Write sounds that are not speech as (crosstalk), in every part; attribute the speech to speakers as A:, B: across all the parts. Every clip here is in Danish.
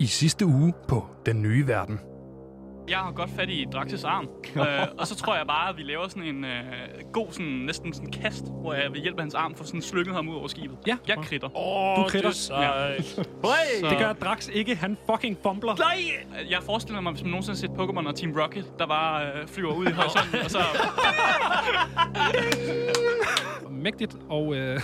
A: i sidste uge på Den Nye Verden.
B: Jeg har godt fat i Draxes
C: (laughs)
B: arm, øh, og så tror jeg bare, at vi laver sådan en øh, god, sådan, næsten sådan kast, hvor jeg ved hjælp af hans arm får sådan slynget ham ud over skibet.
C: Ja.
B: Jeg kritter.
C: Oh, du kritter. Det,
B: Ja.
C: ja. det gør Drax ikke. Han fucking fumbler.
B: Nej! Jeg forestiller mig, hvis man nogensinde har set Pokémon og Team Rocket, der bare øh, flyver
C: (laughs)
B: ud i horisonten, og så...
C: Mægtigt. Og øh,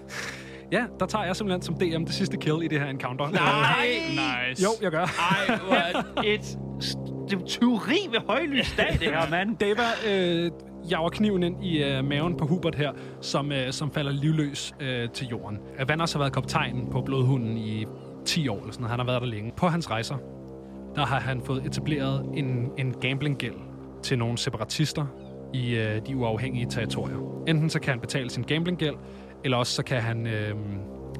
C: (laughs) ja, der tager jeg simpelthen som DM det sidste kill i det her encounter. Nej.
B: Nice.
C: Jo, jeg gør.
D: Ej, hvor er et... st- Det er jo tyveri ved højlys dag, det her,
C: (laughs)
D: mand.
C: Det var øh, jager kniven ind i øh, maven på Hubert her, som, øh, som falder livløs øh, til jorden. Øh, Vanders har været kaptajn på Blodhunden i 10 år, eller sådan noget. han har været der længe. På hans rejser, der har han fået etableret en, en gamblinggæld til nogle separatister i øh, de uafhængige territorier. Enten så kan han betale sin gamblinggæld, eller også så kan han øh,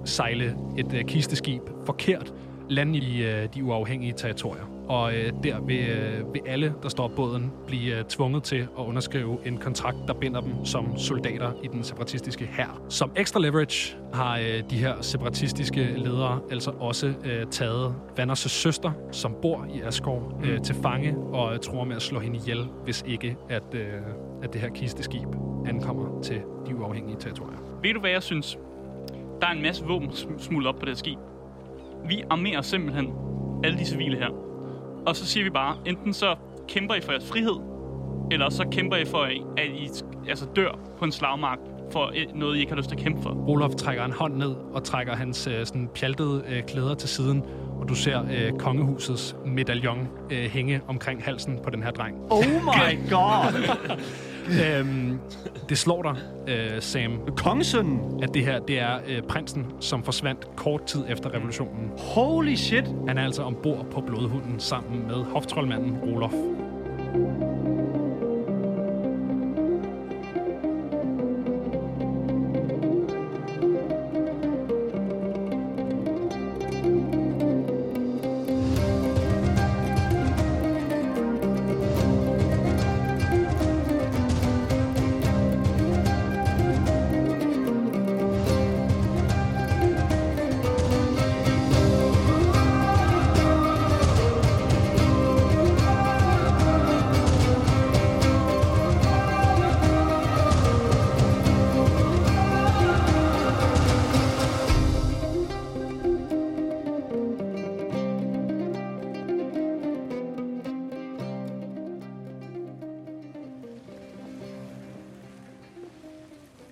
C: sejle et øh, kisteskib forkert lande i øh, de uafhængige territorier. Og øh, der vil, øh, vil alle, der står på båden, blive øh, tvunget til at underskrive en kontrakt, der binder dem som soldater i den separatistiske hær. Som ekstra leverage har øh, de her separatistiske ledere altså også øh, taget Vanders' søster, som bor i Asgård, øh, til fange og øh, tror med at slå hende ihjel, hvis ikke at, øh, at det her kisteskib ankommer til de uafhængige territorier.
B: Ved du, hvad jeg synes? Der er en masse våben sm- smuglet op på det her skib. Vi armerer simpelthen alle de civile her. Og så siger vi bare, enten så kæmper I for jeres frihed, eller også så kæmper I for, at I sk- altså dør på en slagmark for øh, noget, I ikke har lyst til at kæmpe for.
C: Olof trækker en hånd ned og trækker hans øh, sådan pjaltede øh, klæder til siden, og du ser øh, kongehusets medaljon øh, hænge omkring halsen på den her dreng.
D: Oh my god.
C: øhm, det slår dig, øh, Sam,
D: Kongsønnen.
C: at det her det er øh, prinsen, som forsvandt kort tid efter revolutionen.
D: Holy shit.
C: Han er altså ombord på blodhunden sammen med hoftrollmanden Olof.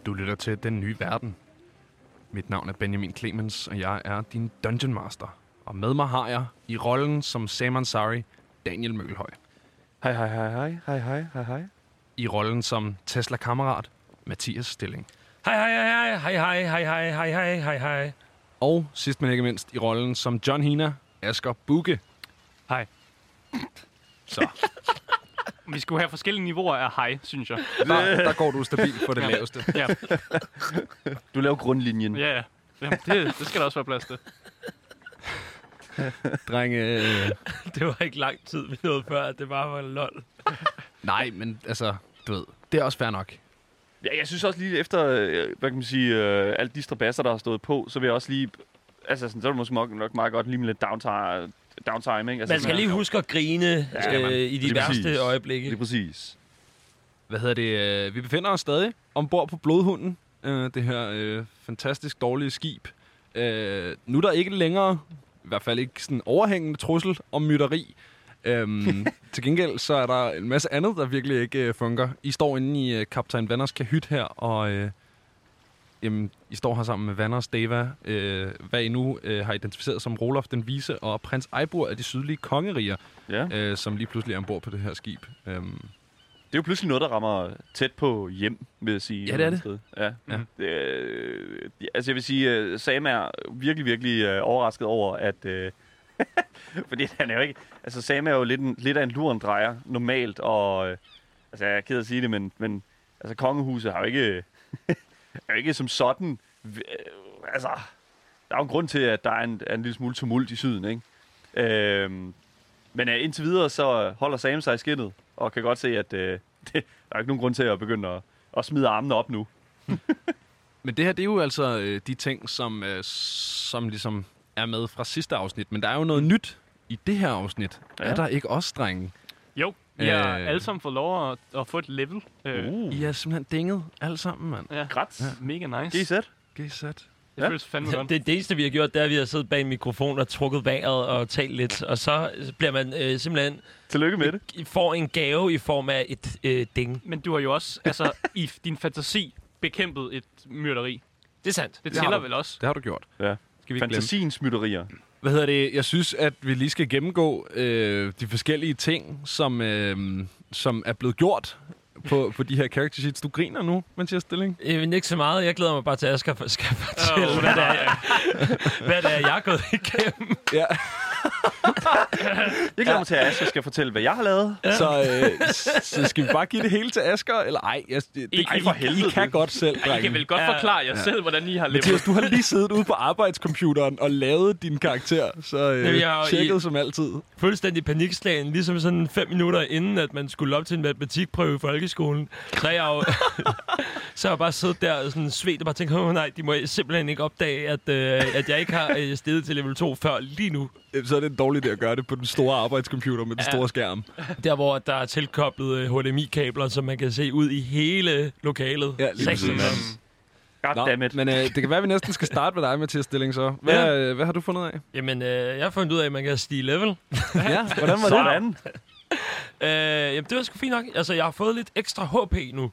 A: Du lytter til Den Nye Verden. Mit navn er Benjamin Clemens, og jeg er din Dungeon Master. Og med mig har jeg, i rollen som Sam Ansari, Daniel Mølhøj.
E: Hej, hej, hej, hej, hej, hej, hej, hej.
A: I rollen som Tesla-kammerat, Mathias Stilling.
F: Hej, hej, hej, hej, hej, hej, hej, hej, hej, hej, hej.
A: Og sidst men ikke mindst, i rollen som John Hina, Asger Bukke.
F: Hej.
A: Så,
B: Vi skulle have forskellige niveauer af hej, synes (laughs) jeg.
A: der, der går du stabilt på det laveste.
B: Ja,
E: Du laver grundlinjen.
B: ja, ja. Jamen, det, det skal der også være plads til.
A: Drenge, øh,
F: (laughs) Det var ikke lang tid, vi nåede før, at det bare var lol.
A: nej, men altså, du ved, det er også fair nok.
E: Ja, jeg synes også lige efter, øh, hvad kan man sige, øh, alle de strabasser, der har stået på, så vil jeg også lige... Altså, sådan, så er det måske nok- nok meget godt lige med lidt downtime, downtime ikke? Altså,
F: Man skal lige huske at grine
E: skal man.
F: øh, i de
E: Lige præcis.
F: værste
E: Det er
F: øjeblikke.
E: præcis.
A: hvad hedder det, øh, vi befinder os stadig ombord på Blodhunden, øh, det her øh, fantastisk dårlige skib. Øh, nu er der ikke længere, i hvert fald ikke sådan overhængende trussel om mytteri. Øhm, til gengæld så er der en masse andet, der virkelig ikke øh, fungerer. I står inde i øh, Kaptajn Vanders kahyt her, og øh, jamen, I står her sammen med Vanders Deva, øh, hvad I nu øh, har identificeret som Rolof den Vise og prins Eibur af de sydlige kongeriger,
E: Ja. Det
A: øh, som lige pludselig er ombord på det her skib. Øhm,
E: er jo pludselig noget, der rammer tæt på hjem, vil jeg sige.
A: Ja, det er det.
E: Sted. Ja.
A: Ja.
E: ja. Øh, altså, jeg vil sige, øh, Sam er virkelig, virkelig øh, overrasket over, at... Øh, (laughs) fordi han er jo ikke... Altså, Sam er jo lidt, en, lidt af en luren drejer, normalt, og... Øh, altså, jeg er ked af at sige det, men, men altså, kongehuset har jo ikke, (laughs) er jo ikke som sådan... v- Øh, altså, der er jo en grund til, at der er en, er en lille smule tumult i syden, ikke? Øhm, men øh, indtil videre, så holder Sam sig i skinnet, og kan godt se, at øh, (laughs) det, der er ikke nogen grund til at begynde at, at smide armene op nu.
A: Men det her, det er jo altså øh, de ting, som, øh, som ligesom er med fra sidste afsnit, men der er jo noget nyt i det her afsnit. Ja. Er der ikke også, drenge?
B: Jo, vi har
A: Øh.
B: alle sammen fået lov at, at få et level. Øh,
E: Uh,
A: I er simpelthen dinget alle sammen, mand.
B: ja.
E: Grats.
B: Mega nice.
E: GZ.
A: G-set.
B: Det
E: Ja.
B: føles fandme godt.
F: Det, det eneste, vi har gjort, det er, at vi har siddet bag en mikrofon og trukket vejret og talt lidt. Og så bliver man øh, simpelthen
E: Tillykke med det.
F: får en gave i form af et øh, ding.
B: Men du har jo også, altså, i f- din fantasi bekæmpet et myrderi.
F: Det er sandt.
B: Det
A: Det har
B: tæller
A: du.
B: vel også.
A: Det har du gjort.
E: Ja.
A: Skal vi ikke glemme.
E: Fantasiens mytterier.
A: Hvad hedder det? Jeg synes, at vi lige skal gennemgå øh, de forskellige ting, som, øh, som er blevet gjort på, på de her character sheets. Du griner nu, mens jeg er stilling.
F: Øh, men ikke så meget. Jeg glæder mig bare til, at jeg skal, for- skal fortælle,
B: Åh,
F: oh, hvad, det er, jeg, hvad det er, jeg er gået igennem.
A: Ja.
E: Jeg glæder mig til, at Asger skal fortælle, hvad jeg har lavet.
A: Så, øh, s- så skal vi bare give det hele til Asker? Eller ej, jeg, det,
B: I-
A: I,
B: for
A: I, I
E: helvede,
A: kan
E: du.
A: godt selv,
B: Ej, I kan
A: drenge.
B: vel godt
F: Ja.
B: forklare jer selv, hvordan I har level.
A: Mathias, du har lige siddet ude på arbejdscomputeren og lavet din karakter, så øh,
F: Jamen, jeg er jo i-
A: tjekket som altid.
F: Fuldstændig panikslagen, ligesom sådan fem minutter inden, at man skulle op til en matematikprøve i folkeskolen. Så jeg jo, (laughs) så har jeg bare siddet der og sådan svedt og bare tænkt, åh oh, nej, de må simpelthen ikke opdage, at, øh, at jeg ikke har øh, steget til level 2 før lige nu.
A: Øh, Så er det en dårlig idé at gøre det på den store arbejdscomputer med den
F: Ja.
A: store skærm.
F: Der, hvor der er tilkoblet øh, HDMI-kabler, som man kan se ud i hele lokalet.
A: Ja, lige
F: Seks
A: præcis.
F: minutter.
A: Nå,
E: Goddammit.
A: men øh, det kan være, at vi næsten skal starte med dig, Mathias Stilling, så. Hvad,
F: Ja.
A: øh, hvad har du fundet af?
F: Jamen, øh, jeg har fundet ud af, at man kan stige level.
A: Ja, hvordan var
E: Sådan.
A: det?
F: Øh, jamen, det var sgu fint nok. Altså, jeg har fået lidt ekstra HP nu.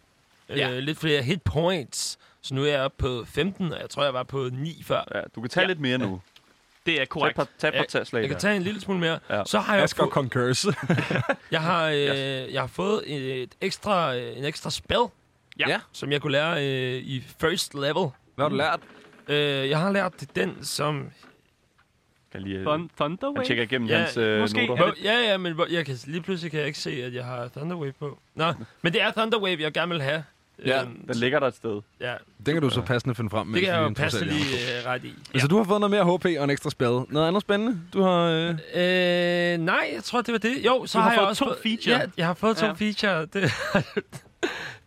F: Ja. Øh, lidt flere hit points. Så nu er jeg oppe på 15, og jeg tror, jeg var på 9 før.
E: Ja, du kan tage
B: Ja.
E: lidt mere nu.
B: Det er
E: Tag et
B: korrekt.
E: par, tag et par tag slag
F: Jeg kan
E: der.
F: tage en lille smule mere.
E: Ja.
F: Så har jeg,
A: Asger
F: få,
A: Concurs.
F: jeg, har, øh, jeg har fået et ekstra, øh, en ekstra spil,
B: Ja.
A: Ja.
F: som jeg kunne lære øh, i first level.
A: Hvad har du lært?
F: Øh, jeg har lært den, som...
E: Kan lige, øh,
B: Thun- Thunderwave?
E: han tjekker igennem
F: Ja,
E: hans øh,
B: måske.
E: noter.
B: Er
F: Hvor, ja, ja, men hvor, jeg kan, lige pludselig kan jeg ikke se, at jeg har Thunderwave på. Nå, men det er Thunderwave, jeg gerne vil have.
A: Ja.
F: Øhm,
E: Den ligger der et sted.
F: ja
A: Den kan du så passende finde frem.
F: det kan jeg jo
A: passe
F: passe lige øh, ret i.
A: Ja. Så Altså, du har fået noget mere HP og en ekstra spade. Noget andet spændende? Du har... Øh...
F: Øh, nej, jeg tror, det var det. Jo, så
B: Du har
F: har, jeg
B: fået
F: også
B: to
F: fået-
B: feature.
F: Ja, jeg har fået to
B: Ja.
F: feature. Det, (laughs)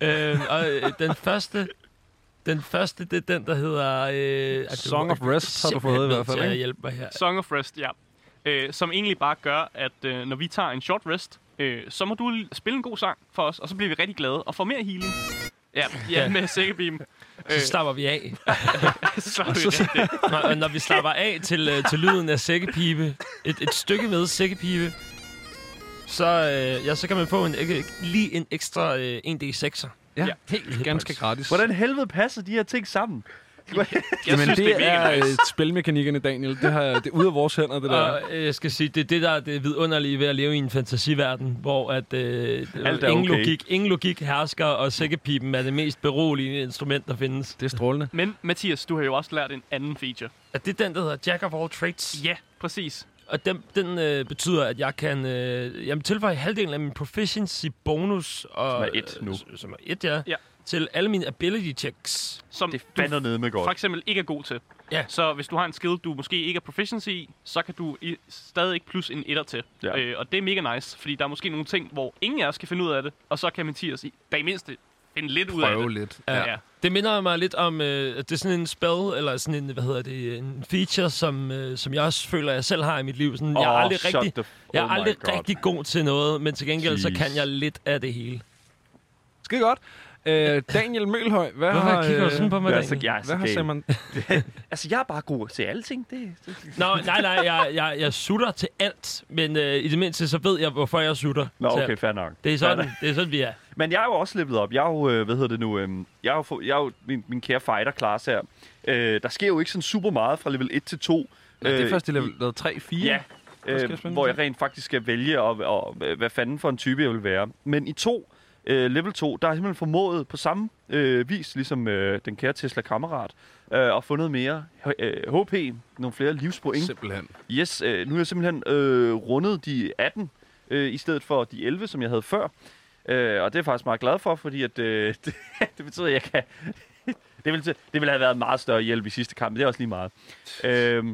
F: øh, og øh, den første, den første, det er den, der hedder... Øh, ej, det
A: Song
F: var-
A: of Rest har du
F: simpelthen
A: fået i hvert
F: nødt
A: fald,
F: til at
A: ikke?
F: hjælpe mig her.
B: Song of Rest, ja. Øh, som egentlig bare gør, at øh, når vi tager en short rest, øh, så må du l- spille en god sang for os, og så bliver vi rigtig glade og får mere healing. Ja, ja
F: Ja.
B: med sikkerbeam. Øh. (laughs)
F: Så slapper vi af.
B: så er det rigtigt.
F: Når, og når vi slapper af til, øh, til lyden af sækkepipe, et, et stykke med sækkepipe, så, øh, ja, så kan man få en, ek- lige en ekstra øh, 1D6'er.
A: Ja,
B: Ja.
F: helt
A: ganske gratis.
E: Hvordan helvede passer de her ting sammen?
B: Jeg
A: Jamen,
B: synes, det, er mega nice.
A: øh, spilmekanikkerne, Daniel. Det, har, det er ude af vores hænder, det der.
F: Og øh, jeg skal sige, det er det, der er det vidunderlige ved at leve i en fantasiverden, hvor at, øh,
E: Alt er
F: ingen,
E: okay.
F: logik, ingen logik hersker, og sækkepipen er det mest beroligende instrument, der findes.
A: Det er strålende.
B: Men Mathias, du har jo også lært en anden feature.
F: At det er den, der hedder Jack of All Trades.
B: Ja, præcis.
F: Og den, den øh, betyder, at jeg kan øh, jamen, tilføje halvdelen af min proficiency bonus. Og,
E: Som er et nu.
F: øh, Som er et, ja,
B: Ja.
F: ja. Til alle mine ability checks.
B: Som
E: Det
B: du
E: fander nede med
B: for
E: godt.
B: eksempel ikke er god til.
F: Ja.
B: Så hvis du har en skill, du måske ikke er proficiency i, så kan du i, stadig ikke plus en etter til.
E: Ja.
B: Øh, og det er mega nice, fordi der er måske nogle ting, hvor ingen af os kan finde ud af det, og så kan Mathias i, da i mindste finde lidt ud af det.
A: Prøve lidt.
F: Ja.
B: Ja.
F: Det minder mig lidt om, øh, at det er sådan en spell, eller sådan en, hvad hedder det, en feature, som, øh, som jeg også føler, jeg selv har i mit liv. Sådan, jeg er
E: Åh,
F: aldrig,
E: shut
F: rigtig,
E: the f-
F: jeg er
E: oh my
F: aldrig
E: God.
F: rigtig god til noget, men til gengæld så
E: Jeez.
F: kan jeg lidt af det hele.
A: Skide godt. Øh, Daniel Mølhøj, hvad
F: Hvorfor
A: har...
F: kigger du
A: øh,
F: sådan på mig,
E: Jeg er så,
F: Daniel?
E: jeg er
A: Hvad har
E: så
A: Simon...
E: gal. Altså, jeg er bare god til alting. Det, det.
F: Nå, nej, nej, jeg, jeg, jeg sutter til alt, men øh, i det mindste, så ved jeg, hvorfor jeg sutter.
E: Nå,
F: til
E: okay,
F: alt.
E: fair nok.
F: Det er
E: Fair
F: sådan,
E: nok.
F: det er sådan vi er.
E: Men jeg er jo også levelet op. Jeg er jo, øh, hvad hedder det nu, øhm, jeg er jo, få- jeg er jo min, min kære fighter-klasse her. Øh, der sker jo ikke sådan super meget fra level 1 til 2.
A: Ja, det er
E: Øh,
A: først i level 3-4.
E: Ja,
A: jeg
E: øh,
A: spænde
E: hvor
A: til?
E: jeg rent faktisk skal vælge, og, og, og hvad fanden for en type jeg vil være. Men i to, øh, level 2, der har jeg simpelthen formået på samme øh, vis, ligesom øh, den kære Tesla-kammerat, øh, at få noget mere h- øh, HP, nogle flere livspoint.
A: Simpelthen.
E: Yes, øh, nu er jeg simpelthen øh, rundet de 18, øh, i stedet for de 11, som jeg havde før. Øh, og det er jeg faktisk meget glad for, fordi at, øh, (laughs) det, det betyder, at jeg kan... (laughs) det, ville, det ville have været en meget større hjælp i sidste kamp, men det er også lige meget. Øh,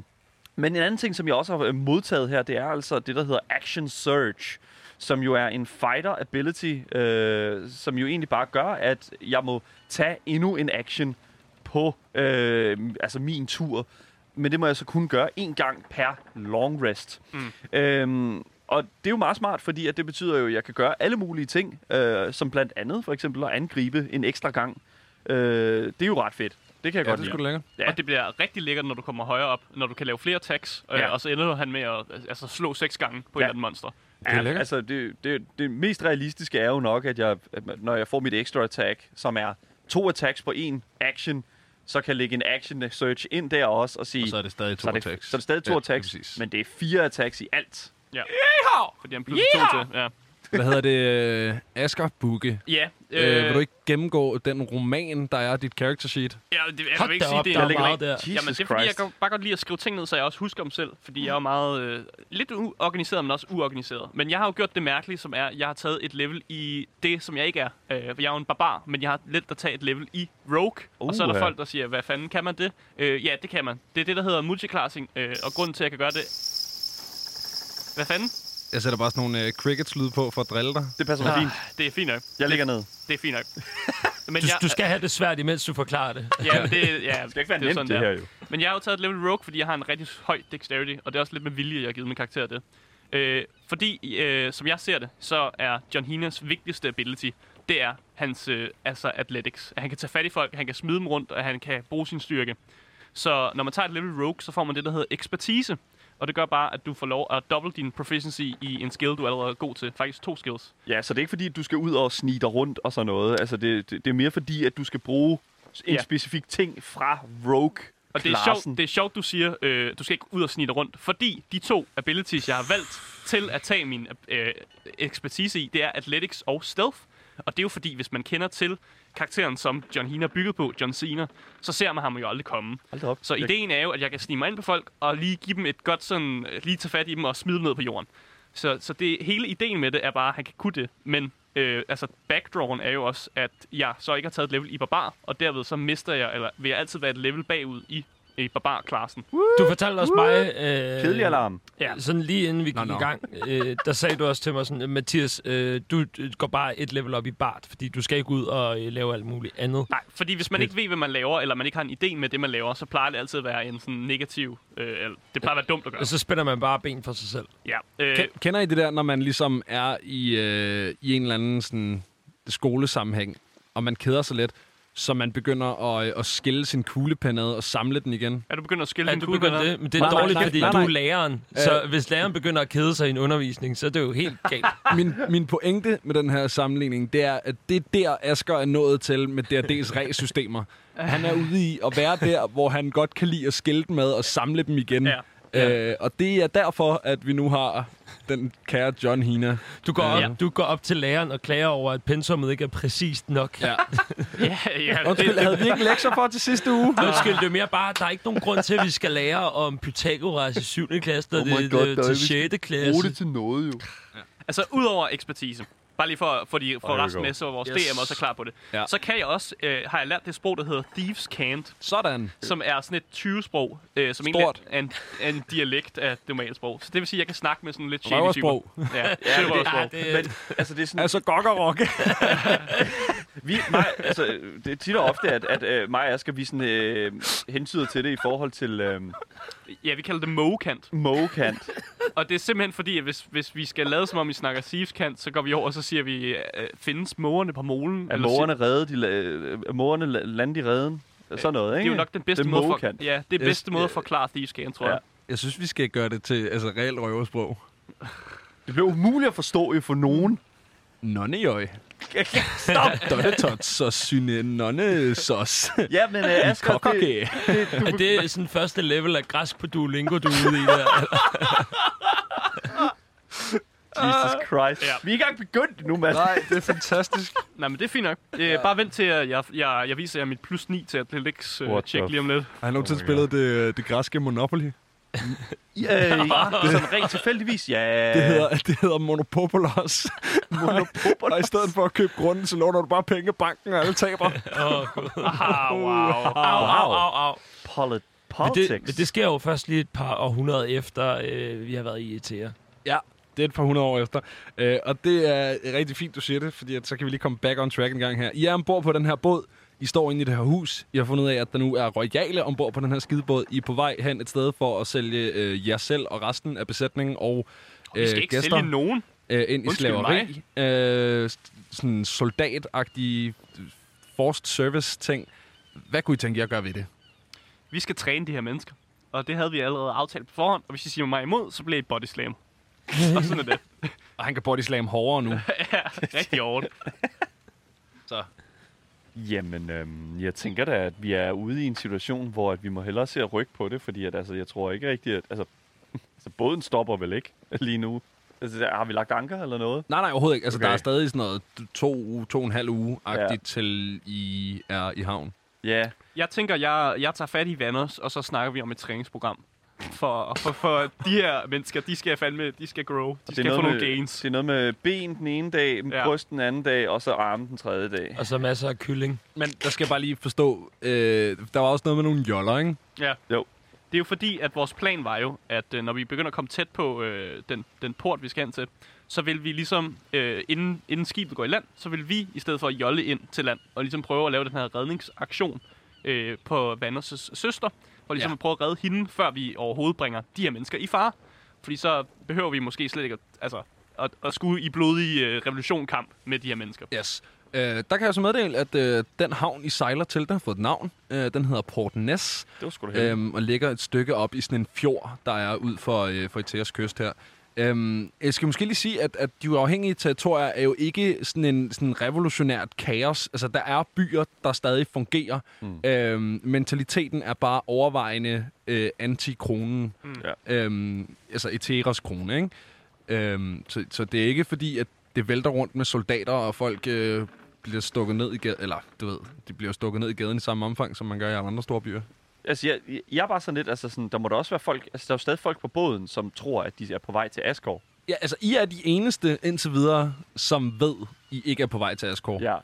E: men en anden ting, som jeg også har øh, modtaget her, det er altså det, der hedder Action Surge, som jo er en fighter ability, øh, som jo egentlig bare gør, at jeg må tage endnu en action på øh, altså min tur. men det må jeg så kun gøre én gang per long rest. Mm. Øhm, og det er jo meget smart, fordi at det betyder jo, at jeg kan gøre alle mulige ting, øh, som blandt andet for eksempel at angribe en ekstra gang. Øh, det er jo ret fedt. Det kan jeg
A: Ja,
E: godt
A: det er sgu
E: lide.
A: da lækkert.
E: Ja.
B: Ja. Og det bliver rigtig lækkert, når du kommer højere op, når du kan lave flere attacks, øh,
E: Ja.
B: ja. og så ender han med at altså, slå seks gange på ja.
E: Ja.
B: et eller andet monster.
A: Det er
E: Ja,
A: lækkert.
E: altså, det, det, det mest realistiske er jo nok, at, jeg, at når jeg får mit extra attack, som er to attacks på en action, så kan jeg lægge en action search ind der også og sige...
A: Og så er det stadig to
E: så er det,
A: attacks.
E: Så er det stadig to
A: Ja,
E: attacks,
A: lige præcis.
E: men det er fire attacks i alt.
B: Ja. Fordi han pludselig to til. Ja.
A: Hvad hedder det? Øh, Asger Bugge.
B: Ja,
A: Øh, vil du ikke gennemgå den roman, der er dit character sheet?
B: Ja, det, jeg
F: Hold
B: vil ikke
F: da
B: sige,
F: op,
B: det
F: der er
B: ligger
F: meget
B: ikke-
F: der.
E: Jesus
B: Jamen, det er fordi, jeg
E: Christ.
B: kan bare godt lide at skrive ting ned, så jeg også husker dem selv. Fordi jeg er jo meget øh, lidt uorganiseret, men også uorganiseret. Men jeg har jo gjort det mærkelige, som er, at jeg har taget et level i det, som jeg ikke er. Øh, for jeg er jo en barbar, men jeg har let at tage et level i Rogue. Uh, og så er der
E: Uha.
B: folk, der siger, hvad fanden, kan man det? Øh, ja, det kan man. Det er det, der hedder multiclassing, øh, og grunden til, at jeg kan gøre det... Hvad fanden?
A: Jeg sætter bare sådan nogle øh, crickets-lyde på for at drille dig.
E: Det passer
B: Ah.
E: mig fint.
B: Det er fint nok.
E: Jeg ligger ned.
B: Det er
E: (laughs)
B: fint nok. Men
F: Du, du skal have det svært, imens du forklarer det.
B: Ja, men det, ja, det
E: skal ikke være
B: er jo
E: nemt,
B: sådan,
E: det
B: er.
E: her jo.
B: Men jeg har jo taget et level rogue, fordi jeg har en rigtig høj dexterity, og det er også lidt med vilje, jeg har givet min karakter det. Øh, fordi, øh, som jeg ser det, så er John Hinas vigtigste ability, det er hans øh, altså athletics. At han kan tage fat i folk, han kan smide dem rundt, og han kan bruge sin styrke. Så når man tager et level rogue, så får man det, der hedder ekspertise. Og det gør bare, at du får lov at doble din proficiency i en skill, du allerede er god til. Faktisk to skills.
E: Ja, så det er ikke fordi, at du skal ud og snige dig rundt og sådan noget. Altså, det, det, det er mere fordi, at du skal bruge en
B: Ja.
E: specifik ting fra Rogue.
B: Og det er, sjovt, det er sjovt, du siger, øh, du skal ikke ud og snige dig rundt, fordi de to abilities, jeg har valgt til at tage min øh, ekspertise i, det er athletics og stealth. Og det er jo fordi, hvis man kender til karakteren, som John Hina er bygget på, John Cena, så ser man ham jo aldrig komme.
E: Hold da op.
B: Så
E: Jeg-
B: ideen er jo, at jeg kan snige mig ind på folk og lige give dem et godt sådan, øh, lige tage fat i dem og smide dem ned på jorden. Så, så det, hele ideen med det er bare, at han kan kunne det. Men øh, altså, backdrawn er jo også, at jeg så ikke har taget et level i barbar, og derved så mister jeg, eller vil jeg altid være et level bagud i, i barbar-klassen.
F: Du fortalte også mig... Øh,
E: Kedelig alarm.
B: Ja.
F: Sådan lige inden vi gik
A: nå.
F: i gang, øh, der sagde du også til mig sådan, Mathias, øh, du øh, går bare et level op i Bart, fordi du skal ikke ud og øh, lave alt muligt andet.
B: Nej, fordi hvis man ikke ved, hvad man laver, eller man ikke har en idé med det, man laver, så plejer det altid at være en sådan negativ... Øh, eller, det plejer at være dumt at gøre.
F: Og så spænder man bare ben for sig selv.
B: Ja. Øh,
A: Ken- Kender I det der, når man ligesom er i, øh, i en eller anden sådan, skolesammenhæng, og man keder sig lidt, så man begynder at, øh, at skille sin kuglepen ad og samle den igen?
B: er du begyndt at skille
F: Ja,
B: din
F: du begynder
B: kuglepen ad?
F: det, men det
A: Nej,
F: er
A: nej,
F: dårligt,
A: nej,
F: fordi
A: nej,
F: du er
A: nej.
F: læreren. Så hvis læreren begynder at kede sig i en undervisning, så er det jo helt galt.
A: Min, min pointe med den her sammenligning, det er, at det er der, Asger er nået til med D&D's regelsystemer. Han er ude i at være der, hvor han godt kan lide at skille dem ad og samle dem igen.
B: Ja.
A: Øh, og det er derfor, at vi nu har den kære John Hina.
F: Du går, op,
B: Ja.
F: du går op til læreren og klager over, at pensummet ikke er præcist nok. Ja.
B: (laughs) Ja, ja, det,
A: Undskyld, Øh, havde vi ikke lektier for til sidste uge?
F: Undskyld, det er mere bare, at der er ikke nogen grund til, at vi skal lære om Pythagoras i 7. klasse, og
E: Oh my
F: det,
E: God,
F: det,
E: der er
F: til
E: vist-
F: 6.
E: Brug det
F: klasse.
E: til noget, jo.
B: Altså, udover ekspertise, bare lige for at få de,
E: There
B: for
E: we
B: resten
E: go.
B: med, så vores
F: Yes.
B: yes. DM også er klar på det.
A: Ja.
B: Ja. Så kan jeg også, øh, har jeg lært det sprog, der hedder Thieves Cant,
A: Sådan.
B: som er sådan et 20-sprog, øh, som
A: Stort.
B: egentlig er en, er en dialekt af det normale sprog. Så det vil sige, at jeg kan snakke med sådan lidt shady
A: Røversprog.
B: typer.
E: (laughs)
B: Ja, ja,
E: men det-
B: røversprog.
F: Ja, det,
E: Men, altså, det er sådan,
A: Altså, gokkerrokke.
E: Vi, mig, altså, øh, det er tit og ofte, at, at øh, mig og Asger, vi sådan, øh, hentyder til det i forhold til øh,
B: ja, vi kalder det Mokant.
E: Mokant.
B: Og det er simpelthen fordi, at hvis, hvis vi skal lade som om, vi snakker Thieves Cant, så går vi over, og så siger vi, øh, findes mågerne på molen?
E: Er
B: Eller siger-
E: mågerne redde, de, la- øh, er mågerne la- lande i redden? Og Sådan noget, ikke?
B: Det er jo nok den bedste,
E: det
B: måde, for,
E: Mokant.
B: ja, det er
A: Yes.
B: bedste måde at forklare Thieves Cant, tror
E: Ja.
B: jeg.
A: Jeg synes, vi skal gøre det til altså, reelt røversprog.
E: Det blev umuligt at forstå jo for nogen.
A: Nonnejøj. Stop! Dottetot, så syne nonnesos.
E: Ja, men øh, Asger, det,
A: Kokkake.
F: er det sådan første level af græsk på Duolingo, du er ude i der?
E: Ah. Jesus Christ.
B: Ja.
E: Vi er ikke engang begyndt nu, mand.
A: Nej, det er fantastisk.
B: Nej, men det er fint nok. Øh, Bare vent til, at jeg, jeg, jeg viser jer mit plus 9 til Athletics øh,
E: What the
B: check lige om lidt.
A: Har I nogensinde spillet det, det græske Monopoly?
E: Ja, øh, det er sådan rent tilfældigvis. Ja,
A: Det hedder, (laughs) det hedder Monopopolos. (laughs) Monopopolos. Og i stedet for at købe grunden, så låner du bare penge i banken, og alle taber.
B: Ah, wow.
F: Au, au, au, au.
E: polit
F: Men
E: politics.
F: det, men det sker jo først lige et par århundreder efter, øh, vi har været i ET'er.
A: (laughs) Ja, det er et par hundrede år efter. Øh, og det er rigtig fint, du siger det, fordi at, så kan vi lige komme back on track en gang her. I er ombord på den her båd. I står inde i det her hus. I har fundet ud af, at der nu er royale ombord på den her skidebåd. I er på vej hen et sted for at sælge øh, jer selv og resten af besætningen og øh,
B: Vi skal ikke
A: gæster
B: sælge nogen.
A: øh, ind i
B: Undskyld
A: slaveri. Øh, s- sådan soldatagtige forced service ting. Hvad kunne I tænke jer at gøre ved det?
B: Vi skal træne de her mennesker. Og det havde vi allerede aftalt på forhånd. Og hvis I siger mig imod, så bliver I body slam. og sådan er
E: (laughs)
B: det.
A: Og han kan body slam hårdere nu.
B: Rigtig hårdt.
E: Jamen, øhm, jeg tænker da, at vi er ude i en situation, hvor at vi må hellere se at rykke på det, fordi at, altså, jeg tror ikke rigtigt, at altså, (laughs) altså, båden stopper vel ikke lige nu. Altså, har vi lagt anker eller noget?
A: Nej, nej, overhovedet ikke. Altså, okay.
E: Okay.
A: der er stadig sådan noget to, to og en halv uge-agtigt ja.
E: Ja.
A: til I er i havn.
E: Ja,
B: Jeg tænker, jeg, jeg tager fat i Vanders, og så snakker vi om et træningsprogram. For, for, for de her mennesker, de skal fandme, de skal grow. De skal få nogle
E: med,
B: gains.
E: det er noget med ben den ene dag,
B: Ja.
E: ja. bryst den anden dag, og så arme den tredje dag.
F: Og så masser af kylling.
A: Men der skal jeg bare lige forstå, øh, der var også noget med nogle joller, ikke?
B: Ja.
E: Jo.
B: Det er jo fordi, at vores plan var jo, at øh, når vi begynder at komme tæt på øh, den, den port, vi skal hen til, så vil vi ligesom, øh, inden, inden skibet går i land, så vil vi i stedet for at jolle ind til land, og ligesom prøve at lave den her redningsaktion øh, på Vanders' søster, og ligesom ja.
A: Ja.
B: at prøve at redde hende, før vi overhovedet bringer de her mennesker i fare. Fordi så behøver vi måske slet ikke at, altså, at, at skulle i blodig øh, revolutionkamp med de her mennesker.
A: Yes. Øh, der kan jeg så meddele, at øh, den havn, I sejler til, den har fået et navn. Øh, den hedder Port Ness,
E: Det var sgu da heldigt.
A: øh, og ligger et stykke op i sådan en fjord, der er ud for, øh, for Iteas kyst her. Øhm, jeg skal måske lige sige, at, at de uafhængige territorier er jo ikke sådan en sådan revolutionært kaos. Altså, der er byer, der stadig fungerer. Mm. Øhm, mentaliteten er bare overvejende øh, anti-kronen. Mm. Øhm, altså, Eteras krone, ikke? Øhm, så, så det er ikke fordi, at det vælter rundt med soldater, og folk øh, bliver stukket ned i gaden. Eller, du ved, de bliver stukket ned i gaden i samme omfang, som man gør i alle andre store byer.
E: Altså, jeg, jeg er bare sådan lidt, altså sådan, der må da også være folk, altså der er jo stadig folk på båden, som tror, at de er på vej til Asgård.
A: Ja, altså, I er de eneste indtil videre, som ved, I ikke er på vej til Asgård.
E: Ja.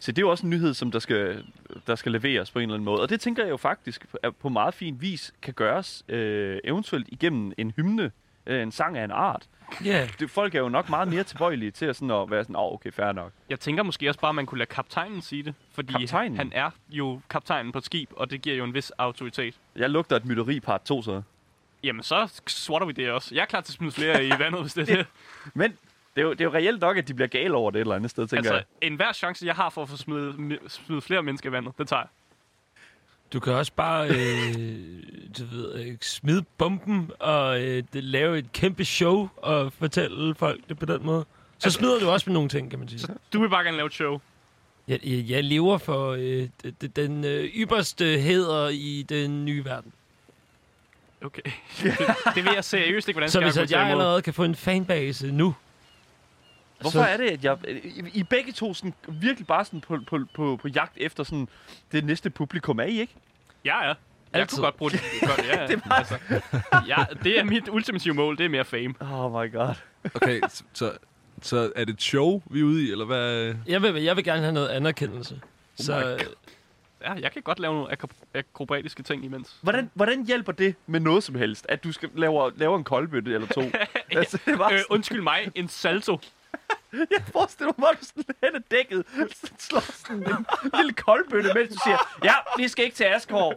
E: Så det er jo også en nyhed, som der skal, der skal leveres på en eller anden måde. Og det tænker jeg jo faktisk er på meget fin vis kan gøres øh, eventuelt igennem en hymne, øh, en sang af en art.
F: Ja,
E: Det, folk er jo nok meget mere tilbøjelige til at, sådan at være sådan, åh, okay, fair nok.
B: Jeg tænker måske også bare, at man kunne lade kaptajnen sige det. Fordi
E: Kaptajnen?
B: han er jo kaptajnen på et skib, og det giver jo en vis autoritet.
E: Jeg lugter et mytteri part 2 så.
B: Jamen, så swatter vi det også. Jeg er klar til at smide flere i vandet, hvis det er det.
E: Men det er, jo, det er jo reelt nok, at de bliver gale over det et eller andet sted, tænker
B: Altså,
E: jeg.
B: enhver chance, jeg har for at få smidt, mi- smidt flere mennesker i vandet, det tager jeg.
F: du kan også bare øh, du ved, øh, smide bomben og øh, det, lave et kæmpe show og fortælle folk det på den måde. Så smider du også med nogle ting, kan man sige.
B: Du vil bare gerne lave et show.
F: Jeg, jeg, jeg lever for øh, d- d- den øh, ypperste heder i den nye verden.
B: Okay. det, det ved jeg seriøst ikke, hvordan
F: Så
B: skal
F: hvis
B: jeg
F: at jeg
B: tage imod.
F: allerede kan få en fanbase nu,
E: Hvorfor er det, at jeg... I, I begge to sådan, virkelig bare sådan på, på, på, på jagt efter sådan, det næste publikum, er I (laughs) ikke?
B: Ja, ja. Jeg
F: Altid.
B: kunne godt bruge det. Godt, ja, ja. det,
E: var-
B: altså, ja, det er mit ultimative mål, det er mere fame.
E: Oh my god.
A: Okay, s- så, så er det et show, vi er ude i, eller hvad?
F: jeg vil, jeg vil gerne have noget anerkendelse. Så øh,
B: Ja, jeg kan godt lave nogle akro- akrobatiske ting imens. Øh,
E: Hvordan, hvordan hjælper det med noget som helst, at du skal lave, lave en koldbøtte (laughs) eller to? altså, det var
B: Øh,
E: sådan,
B: undskyld mig, en salto.
E: jeg forestiller mig, at du sådan hen ad dækket sådan slår sådan en lille koldbøtte, mens du siger, ja, vi skal ikke til
B: (laughs)
E: Askov.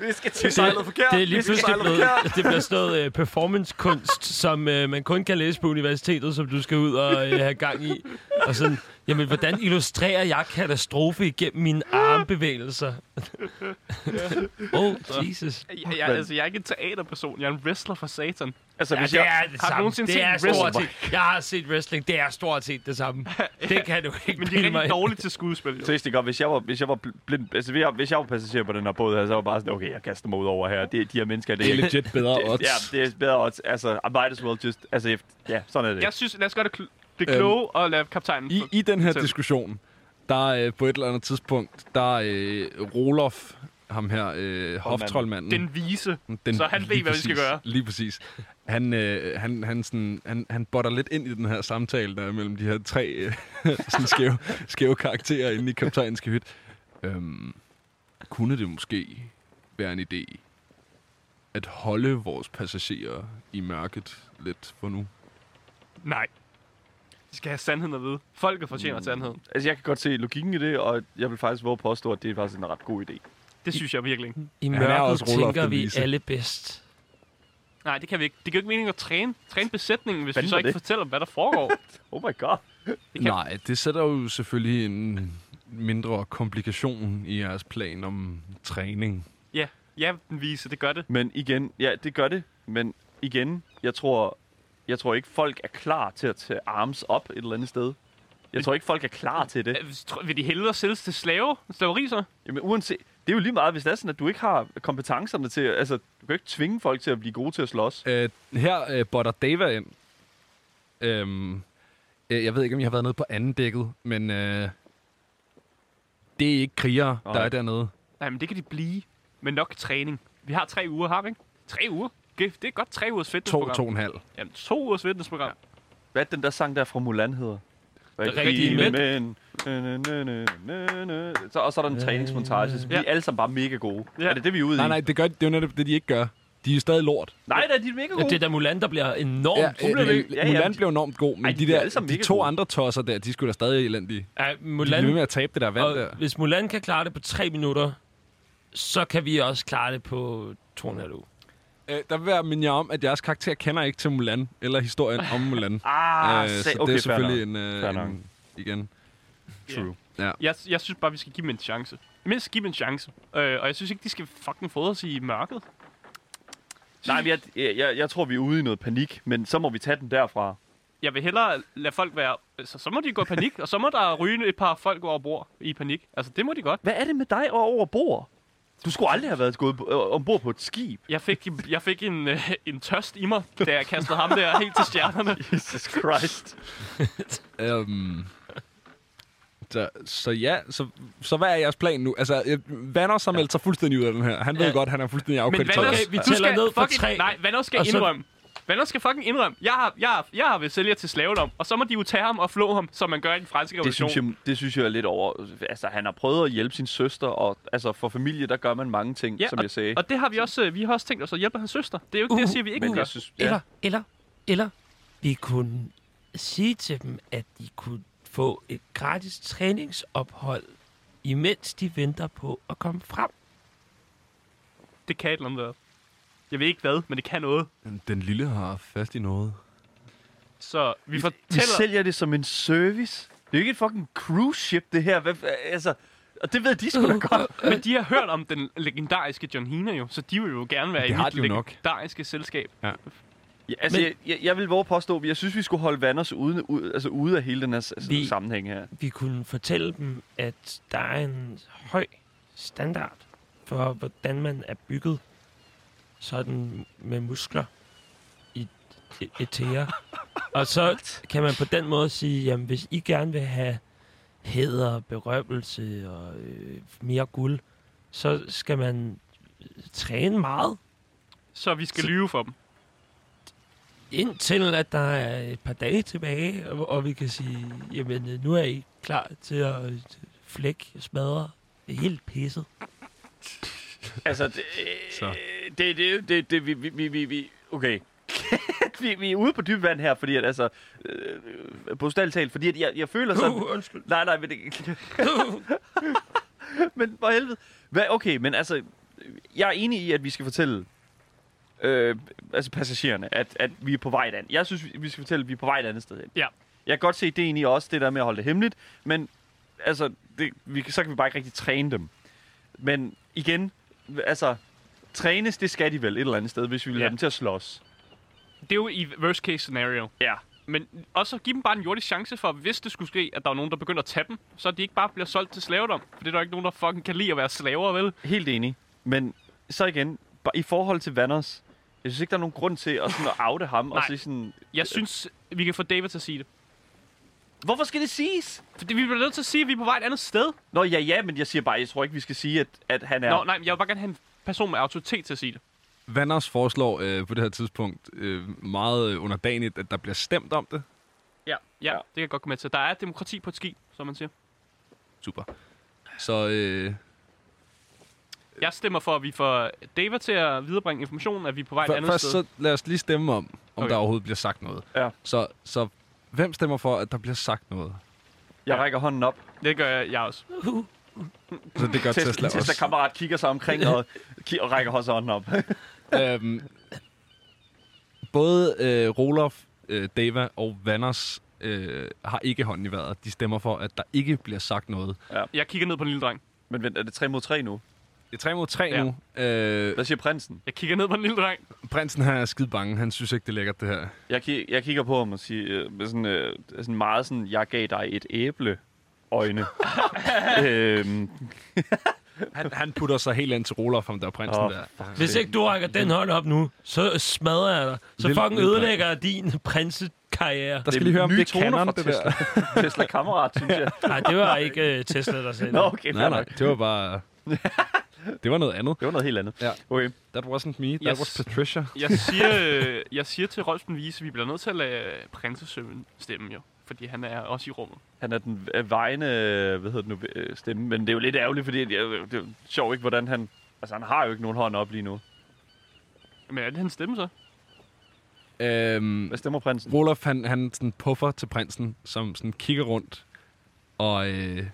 E: vi skal til sejlet forkert.
F: det er lige
E: vi skal
F: pludselig
E: sejle
F: blevet,
E: forkert. (laughs)
F: det bliver sådan noget øh, performancekunst, som øh, man kun kan læse på universitetet, som du skal ud og øh, have gang i. Og sådan, jamen, hvordan illustrerer jeg katastrofe igennem mine armbevægelser? oh, Jesus.
B: Jeg, jeg, altså, jeg er ikke en teaterperson, jeg er en wrestler for satan.
E: Altså, hvis
F: Ja, det
E: jeg...
F: er det
B: Har du
F: samme.
B: nogensinde
F: Det
B: set
F: er
B: wrestling?
F: stort set. Jeg har set wrestling. Det er stort set det
B: (laughs)
F: samme. Det kan du ikke
B: Men de
F: bilde
B: er
F: mig
B: rigtig
F: ind.
B: dårlige til skuespil, jo.
E: Så det er godt, hvis jeg var, hvis jeg var bl- blind, altså hvis jeg, hvis jeg var passager på den her båd her, så var jeg bare sådan, okay, jeg kaster mig ud over her. Det, de her mennesker, det
A: Det
E: er
A: er
E: ikke...
A: legit bedre odds.
E: Ja, det er bedre odds. Altså, I might as well just... Altså, if, ja, sådan er det.
B: Jeg synes, lad os gøre det, kl- det kloge og lade kaptajnen...
A: I,
B: få-
A: I den her
B: Selv.
A: diskussion, der øh, på et eller andet tidspunkt, der øh, Rolof, ham her, øh, hoftrollmanden.
B: den vise. så han ved,
A: Mm, lige
B: hvad vi skal
A: præcis-
B: gøre.
A: Lige præcis. Han, øh, han, han, sådan, han, han botter lidt ind i den her samtale, der er mellem de her tre øh, (laughs) sådan skæve, skæve karakterer inde i kaptajnens kahyt. Øhm, kunne det måske være en idé at holde vores passagerer i mørket lidt for nu?
B: Nej. De skal have sandheden at vide. Folket fortjener mm. sandheden.
E: Altså, jeg kan godt se logikken i det, og jeg vil faktisk våge at påstå, at det er faktisk en ret god idé.
B: Det synes jeg virkelig ikke.
F: I
A: han er også
F: mørket
A: Rolof
F: tænker
A: den
F: vi
A: vise.
F: alle bedst.
B: Nej, det kan vi ikke. Det giver jo ikke mening at træne, træne besætningen, hvis vi
E: Fanden
B: så
E: var
B: ikke
E: det.
B: fortæller, hvad der foregår.
E: Oh my god.
B: kan-
A: Nej, det sætter jo selvfølgelig en mindre komplikation i jeres plan om træning.
B: ja, ja, den vise, det gør det.
E: Men igen, ja, det gør det. Men igen, jeg tror, jeg tror ikke, folk er klar til at tage arms op et eller andet sted. Jeg tror ikke, folk er klar til det.
B: Øh, tror- Vil de hellere sælges til slave? Slaveri så?
E: Jamen, uanset, det er jo lige meget, hvis det er sådan, at du ikke har kompetencerne til... Altså, du kan ikke tvinge folk til at blive gode til at slås.
A: Øh, her øh, botter Dava ind. Øhm, øh, jeg ved ikke, om jeg har været nede på anden dækket, men øh, det er ikke krigere, der
E: Nej.
A: er dernede.
B: Nej, men det kan de blive med nok træning. Vi har tre uger, har vi ikke? Tre uger? Det det er godt tre ugers
A: To,
B: fitnessprogram.
A: to og en halv.
B: Jamen, to ugers fitnessprogram. Ja.
E: Hvad er den der sang der fra Mulan hedder?
F: Rigtige mænd.
E: mænd. Næ, næ, næ, næ, næ. Så, og så
A: Øh,
E: er der en træningsmontage. Så vi
B: Ja.
E: er alle sammen bare mega gode.
B: Ja.
E: Er det det, vi er ude
A: Nej,
E: i?
A: nej, det, gør, det er jo netop det, de ikke gør. De er stadig lort.
E: nej, nej, de er mega
F: Ja,
B: Uh.
E: gode.
F: det er da Mulan, der bliver enormt. Ja,
E: hun
A: øh,
E: blev det. Ja, ja,
A: Mulan
E: men de-
A: blev enormt god, men
E: Ej,
A: de,
E: de er
A: der,
E: alle sammen
A: de
E: mega
A: to
E: gode.
A: andre tosser der, de skulle da stadig elendige.
F: ja,
A: De blev ved
F: Mulan,
A: med at tabe det der vand der.
F: og hvis Mulan kan klare det på tre minutter, så kan vi også klare det på to og en halv uge.
A: Øh, der vil være minde jer om, at jeres karakter kender ikke til Mulan, eller historien om Mulan. Øh,
E: Ah,
A: så
E: se-
A: det
E: okay,
A: er
E: fair
A: selvfølgelig
E: nok.
A: en,
E: Fair
A: øh,
E: nok.
A: en, igen.
E: True.
B: Jeg, jeg synes bare, vi skal give dem en chance. Mindst give dem en chance. Øh, og jeg synes ikke, de skal fucking fodres i mørket.
E: Nej, men jeg, jeg, jeg, jeg tror, vi er ude i noget panik, men så må vi tage den derfra.
B: Jeg vil hellere lade folk være... altså, Så, så må de gå i panik, og så må der ryge et par folk over bord i panik. Altså, det må de godt.
E: Hvad er det med dig og over bord? Du skulle aldrig have været gået på- øh, ombord på et skib. (laughs)
B: Jeg fik, jeg fik en, øh, en tørst i mig, da jeg kastede ham der helt til stjernerne.
E: Jesus Christ.
A: Øhm, så, så ja, så, så hvad er jeres plan nu? Altså, øh, Vanner har meldt sig fuldstændig ud af den her. Han ved
F: Ja.
A: godt, han er fuldstændig
B: Men
A: afkvalitet.
B: Vanders,
F: Okay, vi
B: du
F: tæller
B: skal
F: ned fra
B: fucking,
F: tre,
B: Nej, Vanders skal
F: og så-
B: indrømme. Vanders skal fucking indrømme. Jeg har, jeg har, jeg har ved sælger til slavedom, og så må de jo tage ham og flå ham, som man gør i den franske
E: Det
B: revolution.
E: synes, jeg, det synes jeg er lidt over. Altså, han har prøvet at hjælpe sin søster, og altså, for familie, der gør man mange ting, som
B: og,
E: jeg sagde.
B: og det har vi også, øh, vi har også tænkt os at hjælpe hans søster. Det er jo ikke uh, det, jeg siger, vi ikke
E: men
B: gør.
E: jeg synes,
F: Eller,
E: ja,
F: eller, eller, vi kunne sige til dem, at de kunne få et gratis træningsophold, imens de venter på at komme frem.
B: Det kan et eller andet være. Jeg ved ikke hvad, men det kan noget.
A: Den lille har fast i noget.
B: Så vi
E: vi
B: fortæller...
E: sælger det som en service. Det er jo ikke et fucking cruise ship, det her. Hvad, altså, og det ved de sgu da godt. (laughs)
B: Men de har hørt om den legendariske John Hina jo, så de vil jo gerne være
A: Det
B: i
A: har
B: mit
A: de jo nok.
B: legendariske selskab.
E: Ja, altså,
F: Men-
E: jeg, jeg, jeg vil våge påstå, at jeg synes, vi skulle holde Vanders ude, ude, altså, ude af hele den her altså,
F: Vi-
E: sammenhæng her.
F: Vi kunne fortælle dem, at der er en høj standard for, hvordan man er bygget sådan med muskler i et et tæer. Og så kan man på den måde sige, jamen hvis I gerne vil have hæder, berømmelse og øh, mere guld, så skal man øh, træne meget,
B: Så vi skal
F: Så-
B: lyve for dem.
F: indtil at der er et par dage tilbage, og, og vi kan sige, jamen øh, nu er I klar til at øh, flække, smadre, det er helt pisset.
E: Altså, det,
A: Så.
E: det, det, det, det vi, vi, vi, vi, vi, okay. (laughs) vi, vi er ude på dybt vand her, fordi at, altså, øh, på talt, fordi at jeg, jeg føler sådan...
F: Uh, undskyld.
E: Nej, nej, men det... (laughs) men for helvede. Hvad, okay, men altså, jeg er enig i, at vi skal fortælle øh, altså passagererne, at, at vi er på vej et andet. Jeg synes, vi skal fortælle, at vi er på vej et andet sted hen.
B: Ja.
E: Jeg kan godt se ideen i også, det der med at holde det hemmeligt, men altså, det, vi, kan- så kan vi bare ikke rigtig træne dem. Men igen, altså, trænes, det skal de vel et eller andet sted, hvis vi vil
B: Ja.
E: have dem til at slås.
B: Det er jo i worst case scenario.
E: Ja.
B: Men også give dem bare en jordisk chance for, hvis det skulle ske, at der var nogen, der begynder at tage dem, så de ikke bare bliver solgt til slavedom. For det er der ikke nogen, der fucking kan lide at være slaver, vel?
E: Helt enig. Men så igen, bare i forhold til Vanders, jeg synes ikke, der er nogen grund til at, sådan, at oute ham og
B: (laughs) Nej.
E: sige sådan...
B: Jeg synes, vi kan få David til at sige det.
E: Hvorfor skal det siges?
B: Fordi vi bliver nødt til at sige, at vi er på vej et andet sted.
E: Nå, ja, ja, men jeg siger bare, jeg tror ikke, vi skal sige, at, at han er...
B: Ja. Nå, nej, jeg vil bare gerne have en person med autoritet til at sige det.
A: Vanders foreslår øh, på det her tidspunkt øh, meget øh, underdanigt, at der bliver stemt om det.
B: Ja. ja, det kan jeg godt komme med til. Der er demokrati på et ski, som man siger.
A: Super. Så øh,
B: Jeg stemmer for, at vi får David til at viderebringe informationen, at vi er på vej et
A: Før,
B: andet
A: først
B: sted.
A: så lad os lige stemme om, om
B: Okay.
A: okay. der overhovedet bliver sagt noget.
E: Ja.
A: Så, så Hvem stemmer for, at der bliver sagt noget?
E: Jeg rækker hånden op.
B: Det gør jeg, jeg også.
A: Så det gør Tesla,
E: Tesla, Tesla
A: også.
E: kammerat kigger sig omkring og, ki- og rækker også hånden op.
A: Øhm, både øh, Rolof, øh, Deva og Vanders øh, har ikke hånden i vejret. De stemmer for, at der ikke bliver sagt noget.
B: Jeg kigger ned på den lille dreng.
E: Men vent, er det 3 mod 3 nu?
A: Det er 3 mod 3
B: Ja.
A: ja. nu. Øh,
E: Hvad siger prinsen?
B: Jeg kigger ned på den lille dreng.
A: prinsen her er skide bange. Han synes ikke, det er lækkert, det her.
E: Jeg, ki- jeg kigger på ham og siger øh, med sådan, øh, sådan meget sådan, jeg gav dig et æble
A: (laughs)
E: øjne. øhm,
A: Han, han putter sig helt ind til Rolof, om der er prinsen
E: Åh,
A: oh, der.
F: Hvis ikke du rækker den hånd op nu, så smadrer jeg dig. Så
A: Lille-
F: fucking
A: lille
F: ødelægger jeg din prinsekarriere.
A: Der skal lige høre, om
E: nye
A: det er
E: toner
A: canon,
E: fra
A: det der.
E: Tesla. (laughs) Tesla kammerat, synes jeg.
F: Nej, det var ikke uh, Tesla, der sagde
E: Nå,
F: det.
E: okay,
A: (laughs) Nej,
E: fair
A: nej.
E: nok.
A: Det var bare... Det var noget andet.
E: Det var noget helt andet.
A: Ja.
E: Okay.
A: That wasn't me. That
B: Yes.
A: was Patricia.
B: Jeg siger, øh, jeg siger til Rolfsen Vise, at vi bliver nødt til at lade prinsesømmen stemme jo. Fordi han er også i rummet.
E: Han er den øh, vejende, øh, hvad hedder det nu, øh, stemme. Men det er jo lidt ærgerligt, fordi det er, jo- det er jo sjovt ikke, hvordan han... Altså, han har jo ikke nogen hånd op lige nu.
B: Men er det hans stemme så?
A: Øhm,
E: Hvad stemmer prinsen?
A: Rolof, han, han sådan puffer til prinsen, som sådan kigger rundt og, øh,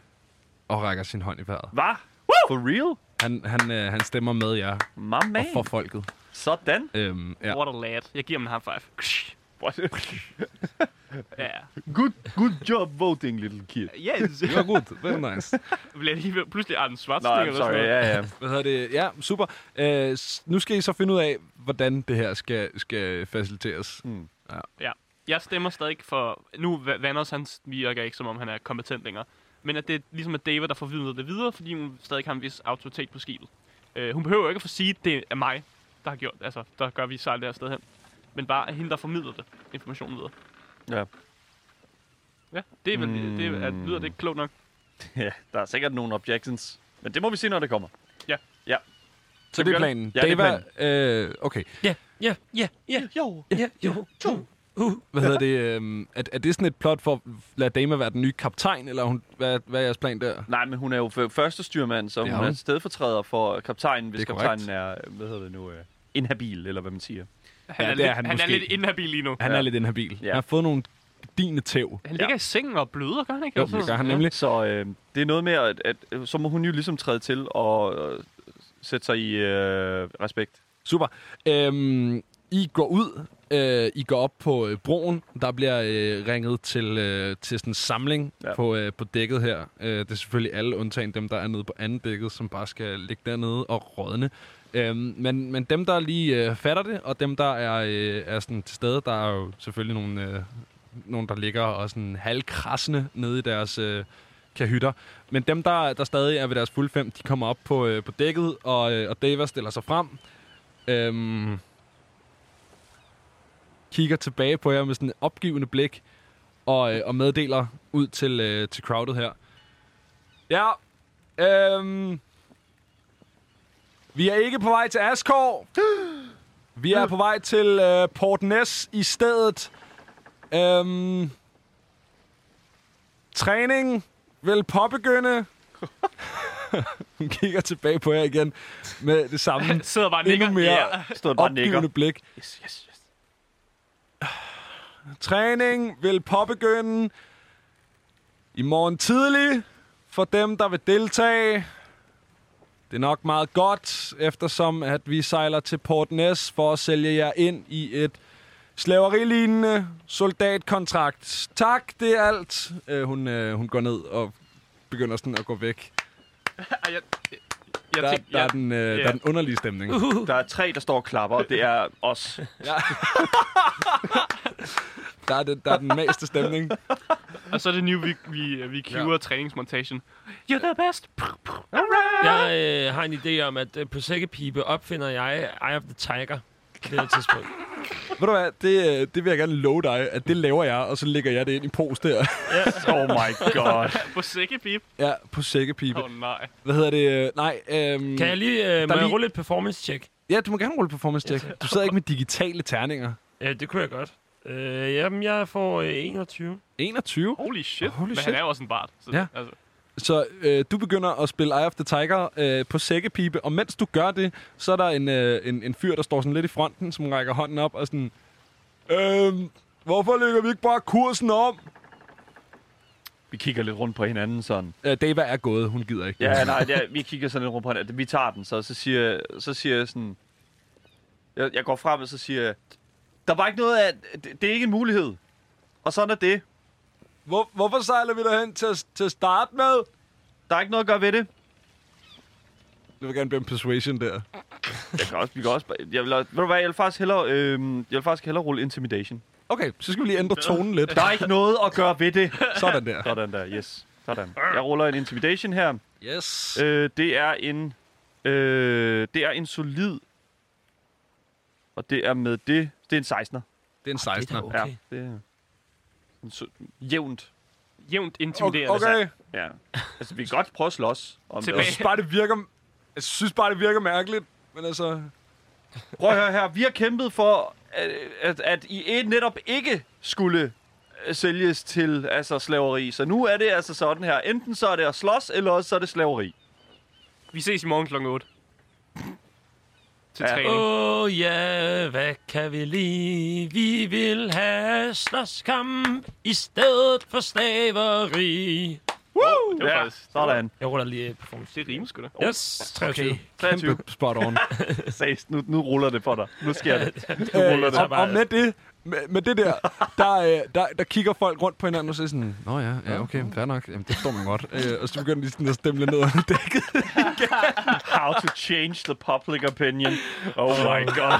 A: og rækker sin hånd i vejret.
E: Hvad? For real?
A: Han, han, øh, han stemmer med jer
E: My
A: og
E: man.
A: for folket. (laughs)
E: Sådan.
A: Øhm, ja.
B: What a lad. Jeg giver ham en high (laughs) five. Ja.
E: good, good job voting, little kid.
B: Yes. (laughs)
A: Det var godt. Very nice.
B: Bliver lige pludselig ah, Arden Schwarz
E: Nå, I'm sorry. Ja, ja.
A: Hvad hedder det? Ja, super. Øh, s- nu skal I så finde ud af, hvordan det her skal, skal faciliteres.
E: Mm.
B: Jeg stemmer stadig for... Nu Va- Vanders, han virker ikke, som om han er kompetent længere. Men at det er ligesom er David, der formidler det videre, fordi hun stadig har en vis autoritet på skibet. Øh, hun behøver ikke at få sige, at det er mig, der har gjort, altså, der gør, at vi sejler det her sted hen. Men bare at hende, der formidler det, informationen videre.
E: Ja.
B: Ja, det, er vel, mm. det er, lyder det ikke klogt nok.
E: (laughs) ja, der er sikkert nogle objections. Men det må vi se, når det kommer.
A: Så det er planen.
E: Ja, det er
A: Dava, øh, okay.
F: Ja, ja, ja, ja, jo, ja, jo, jo.
A: Hvad hedder det? Øh, er, er det sådan et plot for at lade Dama være den nye kaptajn, eller er hun, hvad, hvad er jeres plan der?
E: Nej, men hun er jo f- første styrmand, så
A: Det er
E: hun er
A: hun.
E: stedfortræder for kaptajnen, hvis
A: Det er
E: kaptajnen er, hvad hedder det nu, uh, inhabil, eller hvad man siger.
B: Han,
A: Ja,
B: er,
A: det er
B: lidt,
A: han
B: han er
A: måske.
B: lidt inhabil lige nu.
A: Han
E: Ja.
A: er lidt inhabil.
E: Ja.
A: Han har fået nogle dine tæv.
B: Han ligger i sengen og bløder, gør han ikke?
A: Jo,
B: Altså,
A: det gør han
B: ja.
A: nemlig.
E: Så øh, det er noget med, at, at øh, så må hun jo ligesom træde til og øh, sætte sig i øh, respekt.
A: Super. Øhm, I går ud. Øh, I går op på øh, broen. Der bliver øh, ringet til, øh, til sådan en samling
E: Ja.
A: ja. på, øh, på dækket her. Øh, det er selvfølgelig alle undtagen dem, der er nede på andet dækket, som bare skal ligge dernede og rådne. Øhm, men, men dem, der lige øh, fatter det, og dem, der er, øh, er sådan til stede, der er jo selvfølgelig nogle, øh, nogle der ligger og sådan halvkrassende nede i deres øh, kahytter. Men dem, der, der stadig er ved deres fulde fem, de kommer op på, øh, på dækket, og, øh, og Dava stiller sig frem. Øhm, kigger tilbage på jer med sådan et opgivende blik, og, øh, og meddeler ud til, øh, til crowdet her. Ja, øhm, vi er ikke på vej til Askov. Vi er på vej til øh, Port Næs i stedet. Øhm, træning vil påbegynde. (laughs) Hun kigger tilbage på jer igen med det
B: (laughs)
A: samme
B: Han sidder bare og
A: Endnu
B: nikker.
A: mere.
B: Ja.
E: Stod bare og nikker.
A: opgivende blik.
E: Yes, yes, yes.
A: Træning vil påbegynde i morgen tidlig for dem, der vil deltage. Det er nok meget godt, eftersom at vi sejler til Port Næs for at sælge jer ind i et slaverilignende soldatkontrakt. Tak, det er alt. Øh, hun, øh, hun går ned og begynder sådan at gå væk.
B: Ej, jeg, jeg,
A: Der,
B: jeg,
A: der, er,
B: jeg,
A: den, øh, der
B: ja.
A: er den underlige stemning.
E: Der er tre, der står og klapper, og det er
A: (laughs)
E: os.
A: Der er, den, der er den mæste stemning.
B: og så er det nu, vi, vi, vi cuer ja. træningsmontagen. You're the best! Prr, prr.
F: Jeg øh, har en idé om, at øh, på sækkepipe opfinder jeg Eye of the Tiger på det her (laughs) tidspunkt.
A: Ved du hvad, det, øh, det vil jeg gerne love dig, at det laver jeg, og så lægger jeg det ind i post der. (laughs)
E: Oh my god.
B: På sækkepip.
A: Ja, på sækkepipe.
B: Åh oh, nej.
A: Hvad hedder det? Øh, Nej, øhm,
F: Kan jeg lige, øh, må
A: lige-
F: jeg rulle et performance check?
A: Ja, du må gerne rulle performance check. Du sidder ikke med digitale terninger.
F: Ja, det kunne jeg godt. Øh, jamen, jeg får øh, 21.
A: 21.
B: Holy shit.
A: Holy
B: Men
A: shit.
B: han er jo også en bart. Så,
A: Ja.
B: Altså,
A: Så øh, du begynder at spille Eye of the Tiger øh, på sækkepipe, og mens du gør det, så er der en, øh, en, en fyr, der står sådan lidt i fronten, som rækker hånden op og sådan... Øhm, Hvorfor lægger vi ikke bare kursen om?
E: Vi kigger lidt rundt på hinanden sådan.
A: Øh, Dava er gået, hun gider ikke.
E: Ja, nej, ja, vi kigger sådan lidt rundt på hinanden. Vi tager den, så, så, siger, så siger jeg sådan... Jeg, jeg går frem, og så siger jeg... Der var ikke noget af... Det, det er ikke en mulighed. Og sådan er det.
A: Hvor, hvorfor sejler vi derhen til, at- til at starte med?
E: Der er ikke noget at gøre ved det.
A: Det vil gerne blive en persuasion der.
E: Jeg kan også, vi kan også, bare- jeg vil, også- ved du hvad, jeg vil faktisk hellere, øhm, jeg vil faktisk hellere rulle intimidation.
A: Okay, så skal vi lige ændre tonen lidt.
E: Der er ikke noget at gøre ved det.
A: Sådan der.
E: Sådan der, yes. Sådan. Jeg ruller en intimidation her.
A: Yes.
E: Øh, det er en, øh, det er en solid, og det er med det, det er en 16'er.
A: Det er en 16'er.
E: Ja,
F: Okay.
E: det er en so- jævnt.
B: Jævnt intimiderende.
A: Okay,
E: Ja. Altså, vi kan godt prøve at slås om
A: jeg
B: Tilbage.
E: det.
A: synes bare, det virker... Jeg synes bare, det virker mærkeligt. Men altså,
E: Prøv at høre her, vi har kæmpet for, at, at, at I netop ikke skulle øh, sælges til altså slaveri. Så nu er det altså sådan her. Enten så er det at slås, eller også så er det slaveri.
G: Vi ses i morgen kl. 8. Til
E: Ja.
G: træning.
F: Åh oh, ja, hvad kan vi lide? Vi vil have slåskamp i stedet for slaveri.
E: Det var ja,
G: faktisk-
E: sådan.
F: Jeg ruller lige øh, performance.
G: Det rimer sgu da.
F: Yes, 23. Okay.
E: 23.
A: kæmpe spot on.
E: Seriøst, nu, nu ruller det for dig. Nu sker det.
A: Øh,
F: ruller det.
A: og, og med det, med, med det der, der, øh, der, der kigger folk rundt på hinanden og siger sådan, Nå ja, ja okay, fair nok, Jamen, det forstår man godt. Øh, og så begynder de sådan at stemme lidt ned under dækket.
E: How to change the public opinion. Oh my god.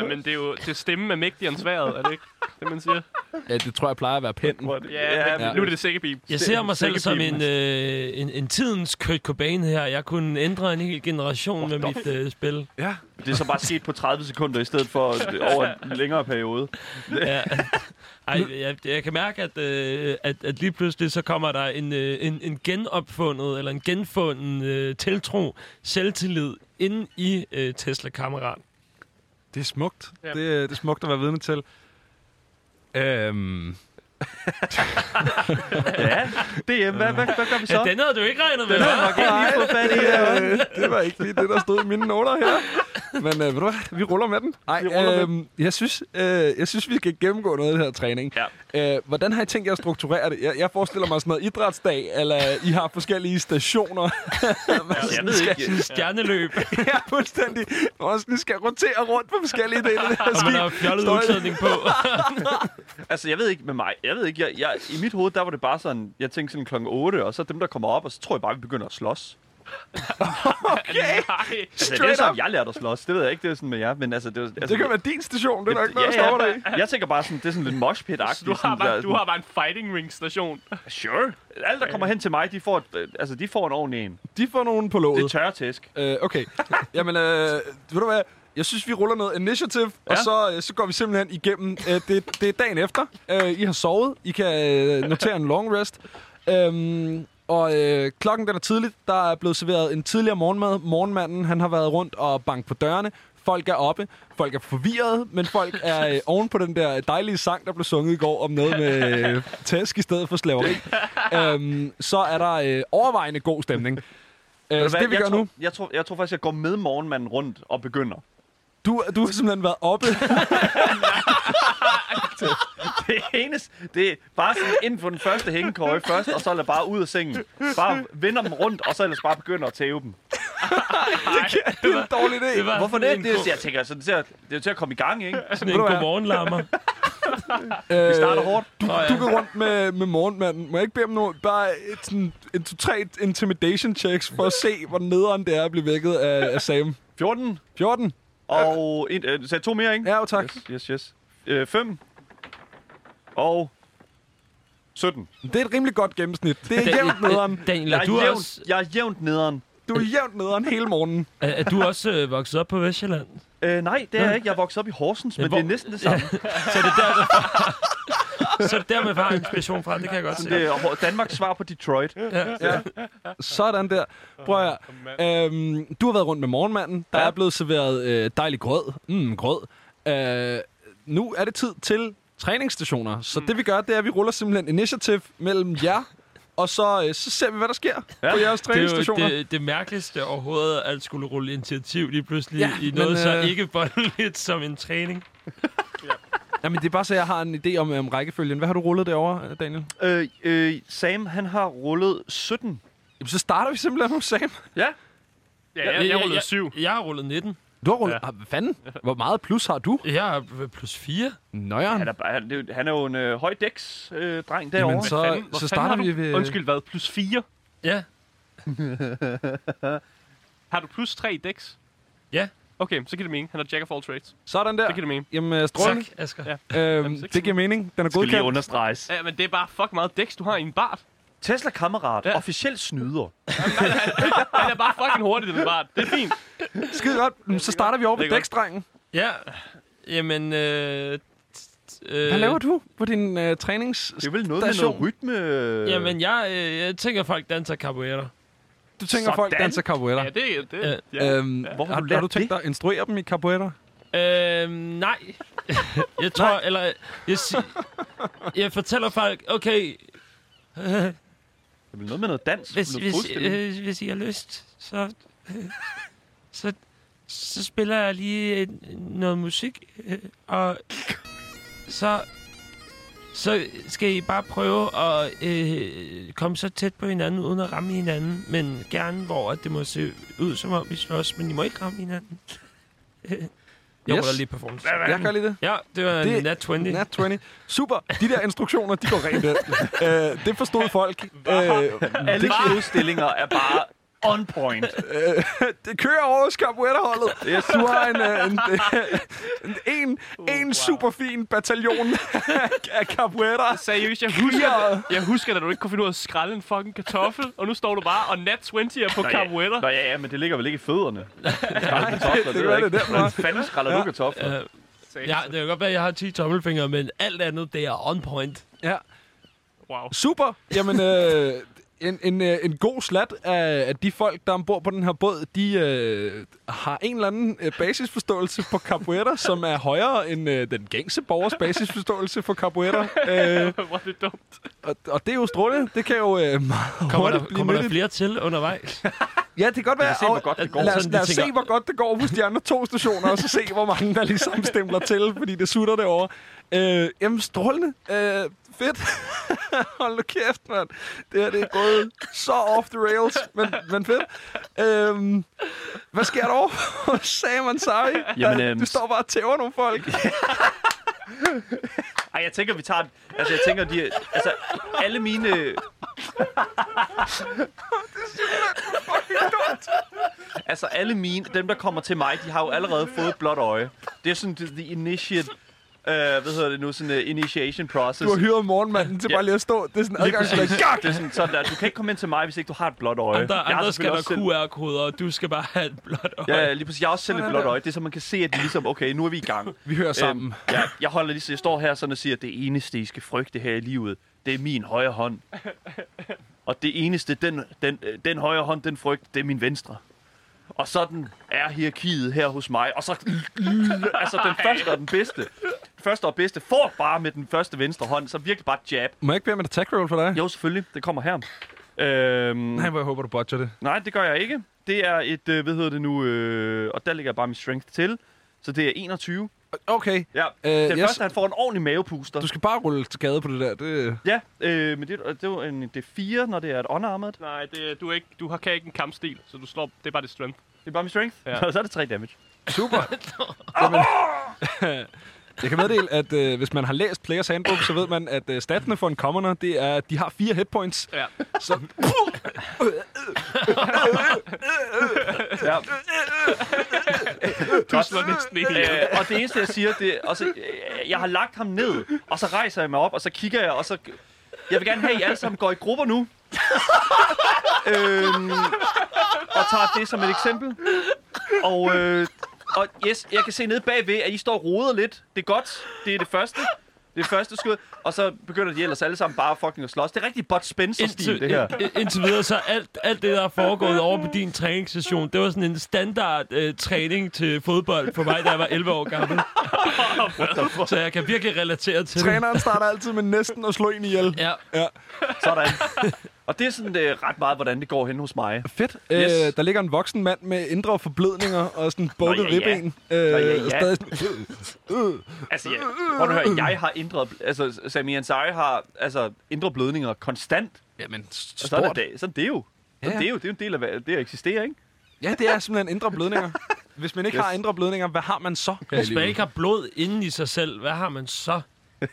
G: Ja, men det er jo det er stemmen er mægtig end sværet, er det ikke? Det man siger.
A: Ja, det tror jeg plejer at være pinden.
E: Hvor er det-
G: Ja,
A: Ja.
G: men nu er det sikkert bib.
F: Jeg ser mig selv som en,
E: sækkepiben.
F: øh, en, en tidens Kurt Cobain her. Jeg kunne ændre en hel generation med mit øh, spil.
A: Ja,
E: Det er så bare sket på 30 sekunder i stedet for øh, over en længere periode.
F: Ja. Ej, jeg, jeg kan mærke, at, øh, at, at lige pludselig så kommer der en, øh, en, en genopfundet eller en genfunden øh, tiltro, selvtillid inde i øh, Tesla-kammerat.
A: det er smukt.
G: Ja.
A: Det, er- det er smukt at være vidne til. Øhm,
E: Ja, DM, hvad, hvad, hvad gør vi så?
F: Ja, den havde du ikke regnet med, hva'?
A: nej, (laughs) det var ikke lige det, der stod i mine noter her. Men øh, ved du hvad, vi ruller med den. Ej,
E: Vi ruller med
A: øhm, jeg, synes, øh, jeg synes, vi skal gennemgå noget af det her træning. Ja. Øh, hvordan har I tænkt jer at strukturere det? Jeg, jeg forestiller mig sådan noget idrætsdag, eller I har forskellige stationer.
E: Altså, Jeg ved ikke.
F: Sådan en stjerneløb,
A: (laughs) Ja, (laughs) fuldstændig. Og også lige skal rotere rundt på forskellige (laughs) dele af det her
F: og man har
A: skib.
F: fjollet
A: Står jeg-
F: udklædning på.
E: Altså, jeg ved ikke med mig. Jeg ved ikke. Jeg, jeg, I mit hoved, der var det bare sådan, jeg tænkte sådan klokken 8, og så dem, der kommer op, og så tror jeg bare, vi begynder at slås.
G: Nej.
E: Altså, det er sådan, jeg lærte at slås. Det ved jeg ikke, det er sådan med jer, men altså... Det, var- altså,
A: Det kan være din station, det er nok
E: det,
A: noget, der står der i.
E: ja, ja. Jeg tænker bare sådan, det er sådan lidt moshpit-agtigt.
G: Du har,
E: sådan der-
G: bare, du har bare en fighting ring station.
E: Sure. Alle, der kommer hen til mig, de får, et, øh, altså, de får en ordentlig en.
A: De får nogen på
E: Det er
A: låget.
E: tørretæsk.
A: Øh, okay. (laughs) Jamen, øh, ved du hvad? Jeg synes, vi ruller noget initiative, ja. og så, øh, så går vi simpelthen igennem. Øh, det, det er dagen efter. Øh, I har sovet. I kan øh, notere en long rest. Øhm, og øh, klokken den er tidligt. Der er blevet serveret en tidligere morgenmad. Morgenmanden han har været rundt og banket på dørene. Folk er oppe. Folk er forvirrede, men folk
E: (laughs)
A: er øh, oven på den der dejlige sang, der blev sunget i går om noget med øh, tæsk i stedet for
E: (laughs)
A: slaveri. øhm, så er der øh, overvejende god stemning. Øh, så
E: Hvad,
A: det vi
E: jeg
A: gør
E: tror,
A: nu...
E: Jeg tror, jeg tror faktisk, jeg går med morgenmanden rundt og begynder. (laughs)
A: Du, du har simpelthen været oppe.
E: Det eneste, det er bare sådan ind på den første hængekøje først, og så er det bare ud af sengen. Bare vender dem rundt, og så ellers bare begynder at tæve dem.
A: (laughs) det er en dårlig idé.
F: Det
E: (laughs)
F: var
E: Hvorfor
F: sådan
E: det?
F: en
E: det er, Øh,
F: god-
E: jeg tænker, altså, det, er, til at- det er til at komme i gang, ikke?
F: Sådan en godmorgenlammer.
A: Øh,
E: Vi starter hårdt.
A: Du, du går rundt med, med morgenmanden. Må jeg ikke bede om noget? Bare et, sådan, en, to, tre intimidation checks for at se, hvor nederen det er at blive vækket af, af Sam.
E: 14,
A: 14.
E: og en, øh, så to mere, ikke?
A: Ja, jo, tak.
E: Yes, yes, yes. Øh, 5, og 17.
A: Det er et rimelig godt gennemsnit. Det er jævnt nederen.
F: Daniel, Daniel,
E: Jeg
F: er
E: er,
F: du
E: jævnt,
F: også,
E: jeg er jævnt nederen.
A: Du er jævnt nederen hele morgenen.
F: er, er du også øh, vokset op på Vestjylland?
E: Øh, nej, det er jeg ikke. Jeg er vokset op i Horsens, men
F: hvor-
E: det er næsten det samme.
F: Så det er der, der så det er der, man har inspiration fra. Det kan jeg godt se.
E: Det er Hår- Danmarks svar på Detroit.
A: Sådan der. Prøv at høre. øhm, Du har været rundt med morgenmanden. Der
E: Ja.
A: er blevet serveret øh, dejlig grød. Mm, grød. Øh, nu er det tid til træningsstationer. Så det vi gør, det er, at vi ruller simpelthen initiativ mellem jer, og så, øh, så ser vi, hvad der sker ja. på jeres
F: Det er jo
A: træningsstationer.
F: det, det mærkeligste overhovedet, at skulle rulle initiativ lige pludselig
A: Ja,
F: ja, i
A: men,
F: noget så
A: øh,
F: ikke voldeligt som en træning.
A: Jamen, det er bare så, jeg har en idé om, om rækkefølgen. Hvad har du rullet derovre, Daniel?
E: Øh, øh, Sam, han har rullet 17.
A: Jamen, så starter vi simpelthen hos Sam.
G: Ja, jeg, jeg rullede syv.
F: Jeg, jeg har rullet 19.
A: Du har rullet... Ja. Ah, hvad fanden? Hvor meget plus har du?
F: Jeg har øh, plus 4.
A: Nøjeren.
E: Han er, bare- han, det er jo- han er jo en øh, højdæks-dreng øh, dreng derovre.
A: Jamen,
E: så...
A: så,
G: Fanden, hvor
A: så
G: fanden
A: starter
G: har
A: vi
G: du-
A: ved...
G: Undskyld, hvad? Plus 4?
F: Ja.
G: Har du plus 3 i dex?
F: Ja.
G: Okay, så giver det mening. Han er jack of all trades.
A: Sådan der.
G: Så giver det mening.
A: Jamen, øh, strålende.
F: Tak, Asger.
G: Ja.
A: Øhm,
G: Jamen, så-
A: det giver mening. Den er
E: Skal lige
A: godkendt.
E: understreges.
G: Ja, men det er bare fuck meget dex, du har i en bart.
E: Tesla-kammerat. Ja. Officielt snyder.
G: Han er bare fucking hurtig, den bart. Det er fint.
A: Skide godt. Jamen, Så starter vi over ved
G: Det er godt.
A: dækstrengen.
F: Ja. Jamen, øh, t- øh,
A: Hvad laver du på din øh, trænings...
E: Det er vel noget med
A: Station.
E: noget rytme.
F: Jamen, jeg, øh, jeg tænker, folk danser capoeira.
A: Du tænker, folk
E: Sådan.
A: danser capoeira.
G: Ja, det, det,
F: Ja.
G: ja.
A: Øhm,
E: Hvor har
A: har,
E: du
A: har
E: lært
A: du tænkt
E: det?
A: dig at instruere dem i capoeira?
F: Øh, nej. jeg tror, nej. eller... Jeg, si- jeg fortæller folk, okay,
E: Det er vel noget med noget dans.
F: hvis,
E: noget
F: hvis,
E: forestilling.
F: øh, hvis I har lyst, så, øh, så, så spiller jeg lige øh, noget musik, øh, og så, så skal I bare prøve at øh, komme så tæt på hinanden, uden at ramme hinanden, men gerne, hvor at det må se ud som om, I slås, men I må ikke ramme hinanden. Øh, jeg
A: Yes.
F: ruller lige performance.
A: Jeg gør lige det.
F: Ja, det var
A: Det-
F: en nat 20.
A: Nat 20. Super. De der instruktioner, de går
E: (laughs)
A: rent ind. øh, det forstod folk. Øh,
E: Alle forestillinger er bare on
F: (laughs)
E: point.
A: Øh, det kører over hos Capoeira-holdet.
E: Yes.
A: Du har en, øh, en, en, en, en super fin bataljon (laughs) af Capoeira.
G: Seriøst, jeg husker, jeg husker, at du ikke kunne finde ud af at skrælle en fucking kartoffel, og nu står du bare og nat 20'er på
E: Nå,
G: Carmuella.
E: ja. Nå ja, ja, men det ligger vel ikke i
F: (laughs)
E: fødderne. Nej,
A: det kan være, det er derfor.
E: Hvordan fanden skræller du kartofler?
F: Øh, Ja, det kan godt være, at jeg har 10 tommelfingre, men alt andet, det er on point.
A: Ja.
G: Wow. (laughs)
A: Super. Jamen, øh, en, en, øh, en god slat af, af de folk, der er ombord på den her båd, de øh, har en eller anden øh, basisforståelse for Capoeira, som er højere end øh, den gængse borgers basisforståelse for Capoeira. Øh,
G: Hvor er det dumt.
A: og, og det er jo strålende. Det kan jo øh, meget
F: Kommer,
A: hurtigt
F: der,
A: blive
F: kommer der
A: nyttigt.
F: flere til undervejs?
A: Ja, det kan godt være.
E: se, hvor godt det går.
A: Lad os,
F: Sådan,
A: lad
F: de
A: os se,
F: tænker-
A: hvor godt det går hos de andre to stationer, og så se, hvor mange der ligesom stempler til, fordi det sutter derovre. Øh, jamen, strålende. Øh, fedt. (laughs) Hold nu kæft, mand. Det her, det er gået så off the rails, men, men fedt. Øh, hvad sker der over? Sam Ansari,
E: Jamen,
A: der,
E: øhm,
A: du står bare og tæver nogle folk.
E: Ej, jeg tænker, vi tager... den. Altså, jeg tænker, de... Altså, alle (laughs) mine... Altså alle mine, dem der kommer til mig, de har jo allerede fået et blåt øje. Det er sådan the, the initiate, uh, hvad hedder det nu, sådan uh, initiation process.
A: Du har hyret morgenmanden til
E: Ja.
A: bare lige at stå. Det er sådan en
E: Lige
A: adgang.
E: præcis. Det er sådan, sådan der, du kan ikke komme ind til mig, hvis ikke du har et blåt øje.
F: Andre,
E: Jeg har
F: andre skal
E: selvfølgelig
F: der
E: også selv-
F: QR-koder, og du skal bare have et blåt øje.
E: Ja, ja, lige præcis. Jeg har også selv et blåt øje. Det er så, man kan se, at de ligesom, okay, nu er vi i
F: (laughs)
E: gang.
A: Vi hører sammen.
E: Øhm, ja, jeg holder lige, så jeg står her sådan og siger, at det eneste, I skal frygte her i livet, det er min højre hånd. Og det eneste, den, den, øh, den højre hånd, den frygt, det er min venstre. Og sådan er hierarkiet her hos mig. Og så, (laughs) altså den første og den bedste, den første og bedste får bare med den første venstre hånd, så virkelig bare et jab.
A: Må jeg ikke bede med et attack roll for dig?
E: Jo, selvfølgelig, det kommer her. Øhm,
A: Nej, hvor jeg håber, du botcher det.
E: Nej, det gør jeg ikke. Det er et, øh, hvad hedder det nu, øh, og der lægger jeg bare min strength til. Så det er 21.
A: Okay.
E: Ja.
A: Øh,
E: det er
A: jeg-
E: først, at han får en ordentlig mavepuster.
A: Du skal bare rulle til skade på det der. Det,
E: Ja, øh, men det, er- det er jo en, det er 4, når det er et unarmored.
G: Nej, det, er- du, er ikke, du har, kan ikke en kampstil, så du slår, det er bare det strength.
E: Det er bare min strength.
G: Ja.
E: Ja. Og (laughs) så er det 3
A: (laughs)
E: damage.
A: Super. Jamen, jeg kan meddele, at øh, hvis man har læst Players Handbook, så ved man, at øh, statene for en commoner, det er, at de har fire hitpoints.
G: Ja.
A: Så,
E: Ja.
G: Du slår næsten ikke ihjel.
E: Øh, og det eneste, jeg siger, det og så, øh, jeg har lagt ham ned, og så rejser jeg mig op, og så kigger jeg, og så... Jeg vil gerne have, at I alle sammen går i grupper nu. øhm, og tager det som et eksempel. Og, øh, og yes, jeg kan se nede bagved, at I står og roder lidt. Det er godt. Det er det første. Det er første skud. Og så begynder de ellers alle sammen bare fucking at slås. Det er rigtig Bud Spencer-stil, det
F: (laughs)
E: her.
F: ind- indtil videre, så alt, alt det, der er foregået over på din træningssession, det var sådan en standard øh, træning til fodbold for mig, da jeg var 11 år
E: (laughs)
F: gammel. så jeg kan virkelig relatere til det.
A: træneren starter altid med næsten at slå en ihjel.
F: Ja,
E: Sådan. Og det er sådan øh, ret meget, hvordan det går hen hos mig.
A: Fedt.
E: Yes.
A: Øh, der ligger en voksen mand med indre forblødninger og sådan bukket
E: ja, ja.
A: ribben. Øh,
E: Nå, ja, ja.
A: Stadig sådan, øh,
E: Altså, jeg, prøv at høre, jeg har indre... Altså, Sami Ansari har altså, indre blødninger konstant.
A: Jamen,
E: Og sådan, er
A: stort.
E: det, sådan er det jo. Sådan
A: Ja.
E: Det, er jo, det er jo en del af hvad- det at eksistere, ikke?
A: Ja, det er simpelthen indre blødninger. Hvis man ikke yes. har indre blødninger, hvad har man så? her i
F: Hvis man
A: livet?
F: ikke har blod inden i sig selv, hvad har man så?
A: Og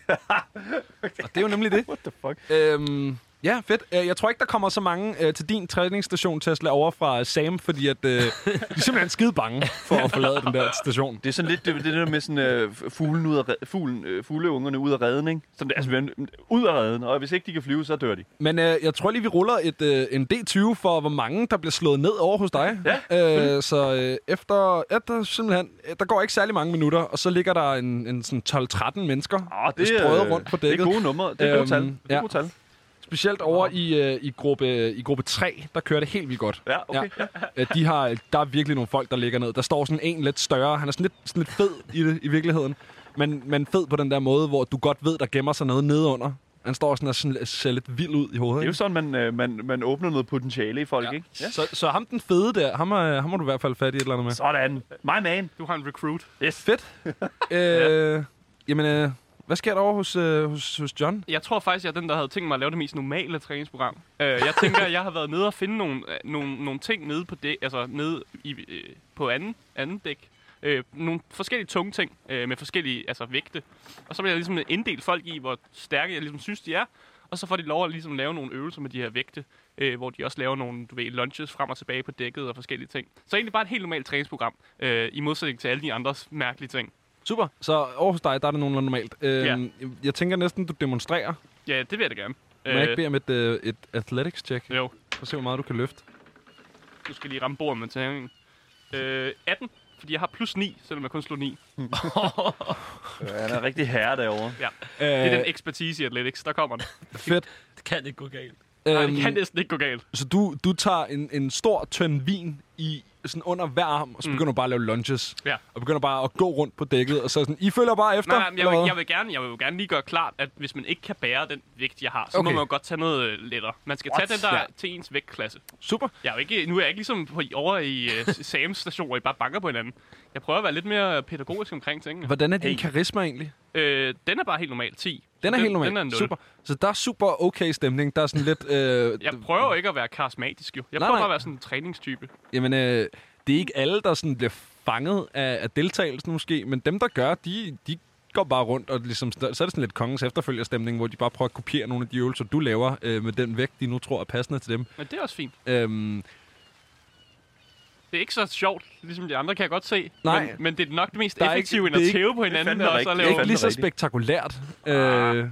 A: det er jo nemlig det.
E: What the fuck?
A: Øhm, ja, fedt. Øh, Jeg tror ikke, der kommer så mange øh, til din træningsstation, Tesla, over fra øh, Sam, fordi at, øh, de er simpelthen skide bange for at forlade den der station.
E: Det er sådan lidt det, det der med sådan, øh, fuglen ud af, red- fuglen, øh, fugleungerne ud af redden, ikke? Sådan, altså,
A: Mm.
E: men- ud af redden, og hvis ikke de kan flyve, så dør de.
A: Men øh, jeg tror lige, vi ruller et, øh, en D20 for, hvor mange der bliver slået ned over hos dig. Ja. Øh, så øh, efter, efter simpelthen, øh, der går ikke særlig mange minutter, og så ligger der en, en sådan 12-13 mennesker
E: Arh,
A: strøget rundt på
E: Ah, det
A: dækket.
E: er gode numre. Det er gode
A: Øhm,
E: tal. Det er
A: ja.
E: gode tal.
A: Specielt over i, øh, i, gruppe, i gruppe 3, der kører det helt vildt godt.
E: Ja, okay.
A: Ja. Øh, De har, der er virkelig nogle folk, der ligger ned. Der står sådan en lidt større. Han er sådan lidt, sådan lidt fed i det i virkeligheden. Men, men fed på den der måde, hvor du godt ved, der gemmer sig noget nedenunder. Han står sådan og sådan, ser lidt vild ud i hovedet.
E: Det er jo
A: ikke?
E: sådan, man, øh, man, man åbner noget potentiale i folk, ja. ikke? Ja.
A: Så, så ham den fede der, ham, er, ham har du i hvert fald fat i et eller andet med.
E: Sådan. My man.
B: Du har en recruit.
E: Yes.
A: Fedt. øh, jamen, øh, hvad sker der over hos, øh, hos, hos John?
B: Jeg tror faktisk, jeg er den, der havde tænkt mig at lave det mest normale træningsprogram. Øh, jeg
A: (laughs)
B: tænker, jeg har været nede og finde nogle, øh, nogle, nogle ting nede på, dæk, altså nede i, øh, på anden, anden dæk. Øh, nogle forskellige tunge ting øh, med forskellige altså, vægte. Og så bliver jeg ligesom inddelt folk i, hvor stærke jeg ligesom synes, de er. Og så får de lov at ligesom lave nogle øvelser med de her vægte, øh, hvor de også laver nogle du ved, lunches frem og tilbage på dækket og forskellige ting. Så egentlig bare et helt normalt træningsprogram, øh, i modsætning til alle de andres mærkelige ting.
A: Super. Så over hos dig, der er det nogenlunde normalt. Øh,
B: Ja.
A: Jeg tænker næsten, du demonstrerer.
B: Ja, det vil jeg da gerne.
A: Må jeg ikke bede om et, øh, et athletics-check?
B: jo.
A: For at se, hvor meget du kan løfte.
B: Du skal lige ramme bordet med tærningen. Øh, 18, fordi jeg har plus 9, selvom jeg kun slog 9. Det
E: Ja, han er rigtig herre derovre.
B: er
A: Øh,
B: den ekspertise i athletics, der kommer den.
A: Fedt. Øhm,
F: Det kan ikke gå galt.
B: Nej, det kan næsten ikke gå galt.
A: Så du, du tager en, en stor tynd vin i sådan under hver arm, og så begynder du bare at lave lunges.
B: Mm. Ja.
A: Og begynder bare at gå rundt på dækket, og så sådan, I følger bare efter?
B: Nej, nej, men jeg,
A: eller
B: vil,
A: hvad?
B: jeg, vil gerne, jeg vil jo gerne lige gøre klart, at hvis man ikke kan bære den vægt, jeg har, så okay. må
A: Okay.
B: man jo godt tage noget øh, lettere. Man skal What? tage den der
A: Ja.
B: ja. til ens vægtklasse.
A: Super.
B: Jeg er jo ikke, nu er jeg ikke ligesom på, over i uh, Sams station, hvor I bare banker på hinanden. Jeg prøver at være lidt mere pædagogisk omkring tingene.
A: Hvordan er din hey. karisma egentlig?
B: Øh, den er bare helt normal, 10.
A: Den er helt normal.
B: Den er en nul.
A: super. Så der er super okay stemning. Der er sådan lidt... Øh,
B: Jeg prøver jo ikke at være karismatisk, jo. Jeg
A: Nej,
B: prøver
A: nej.
B: bare at være sådan en træningstype.
A: Jamen, øh, det er ikke alle, der sådan bliver fanget af, af deltagelsen måske, men dem, der gør, de, de går bare rundt, og ligesom, så er det sådan lidt kongens efterfølgerstemning, hvor de bare prøver at kopiere nogle af de øvelser, du laver øh, med den vægt, de nu tror er passende til dem.
B: Men det er også fint.
A: Øhm,
B: Det er ikke så sjovt, ligesom de andre, kan jeg godt se.
A: Nej.
B: Men, men det er nok det mest
A: Der er
B: effektive,
A: ikke-
B: end
A: det er
B: at
A: ikke-
B: tæve på
E: er
B: hinanden
E: fandme
B: og så
E: rigtigt.
B: lave...
A: ikke lige så
E: rigtigt.
A: spektakulært. Øh,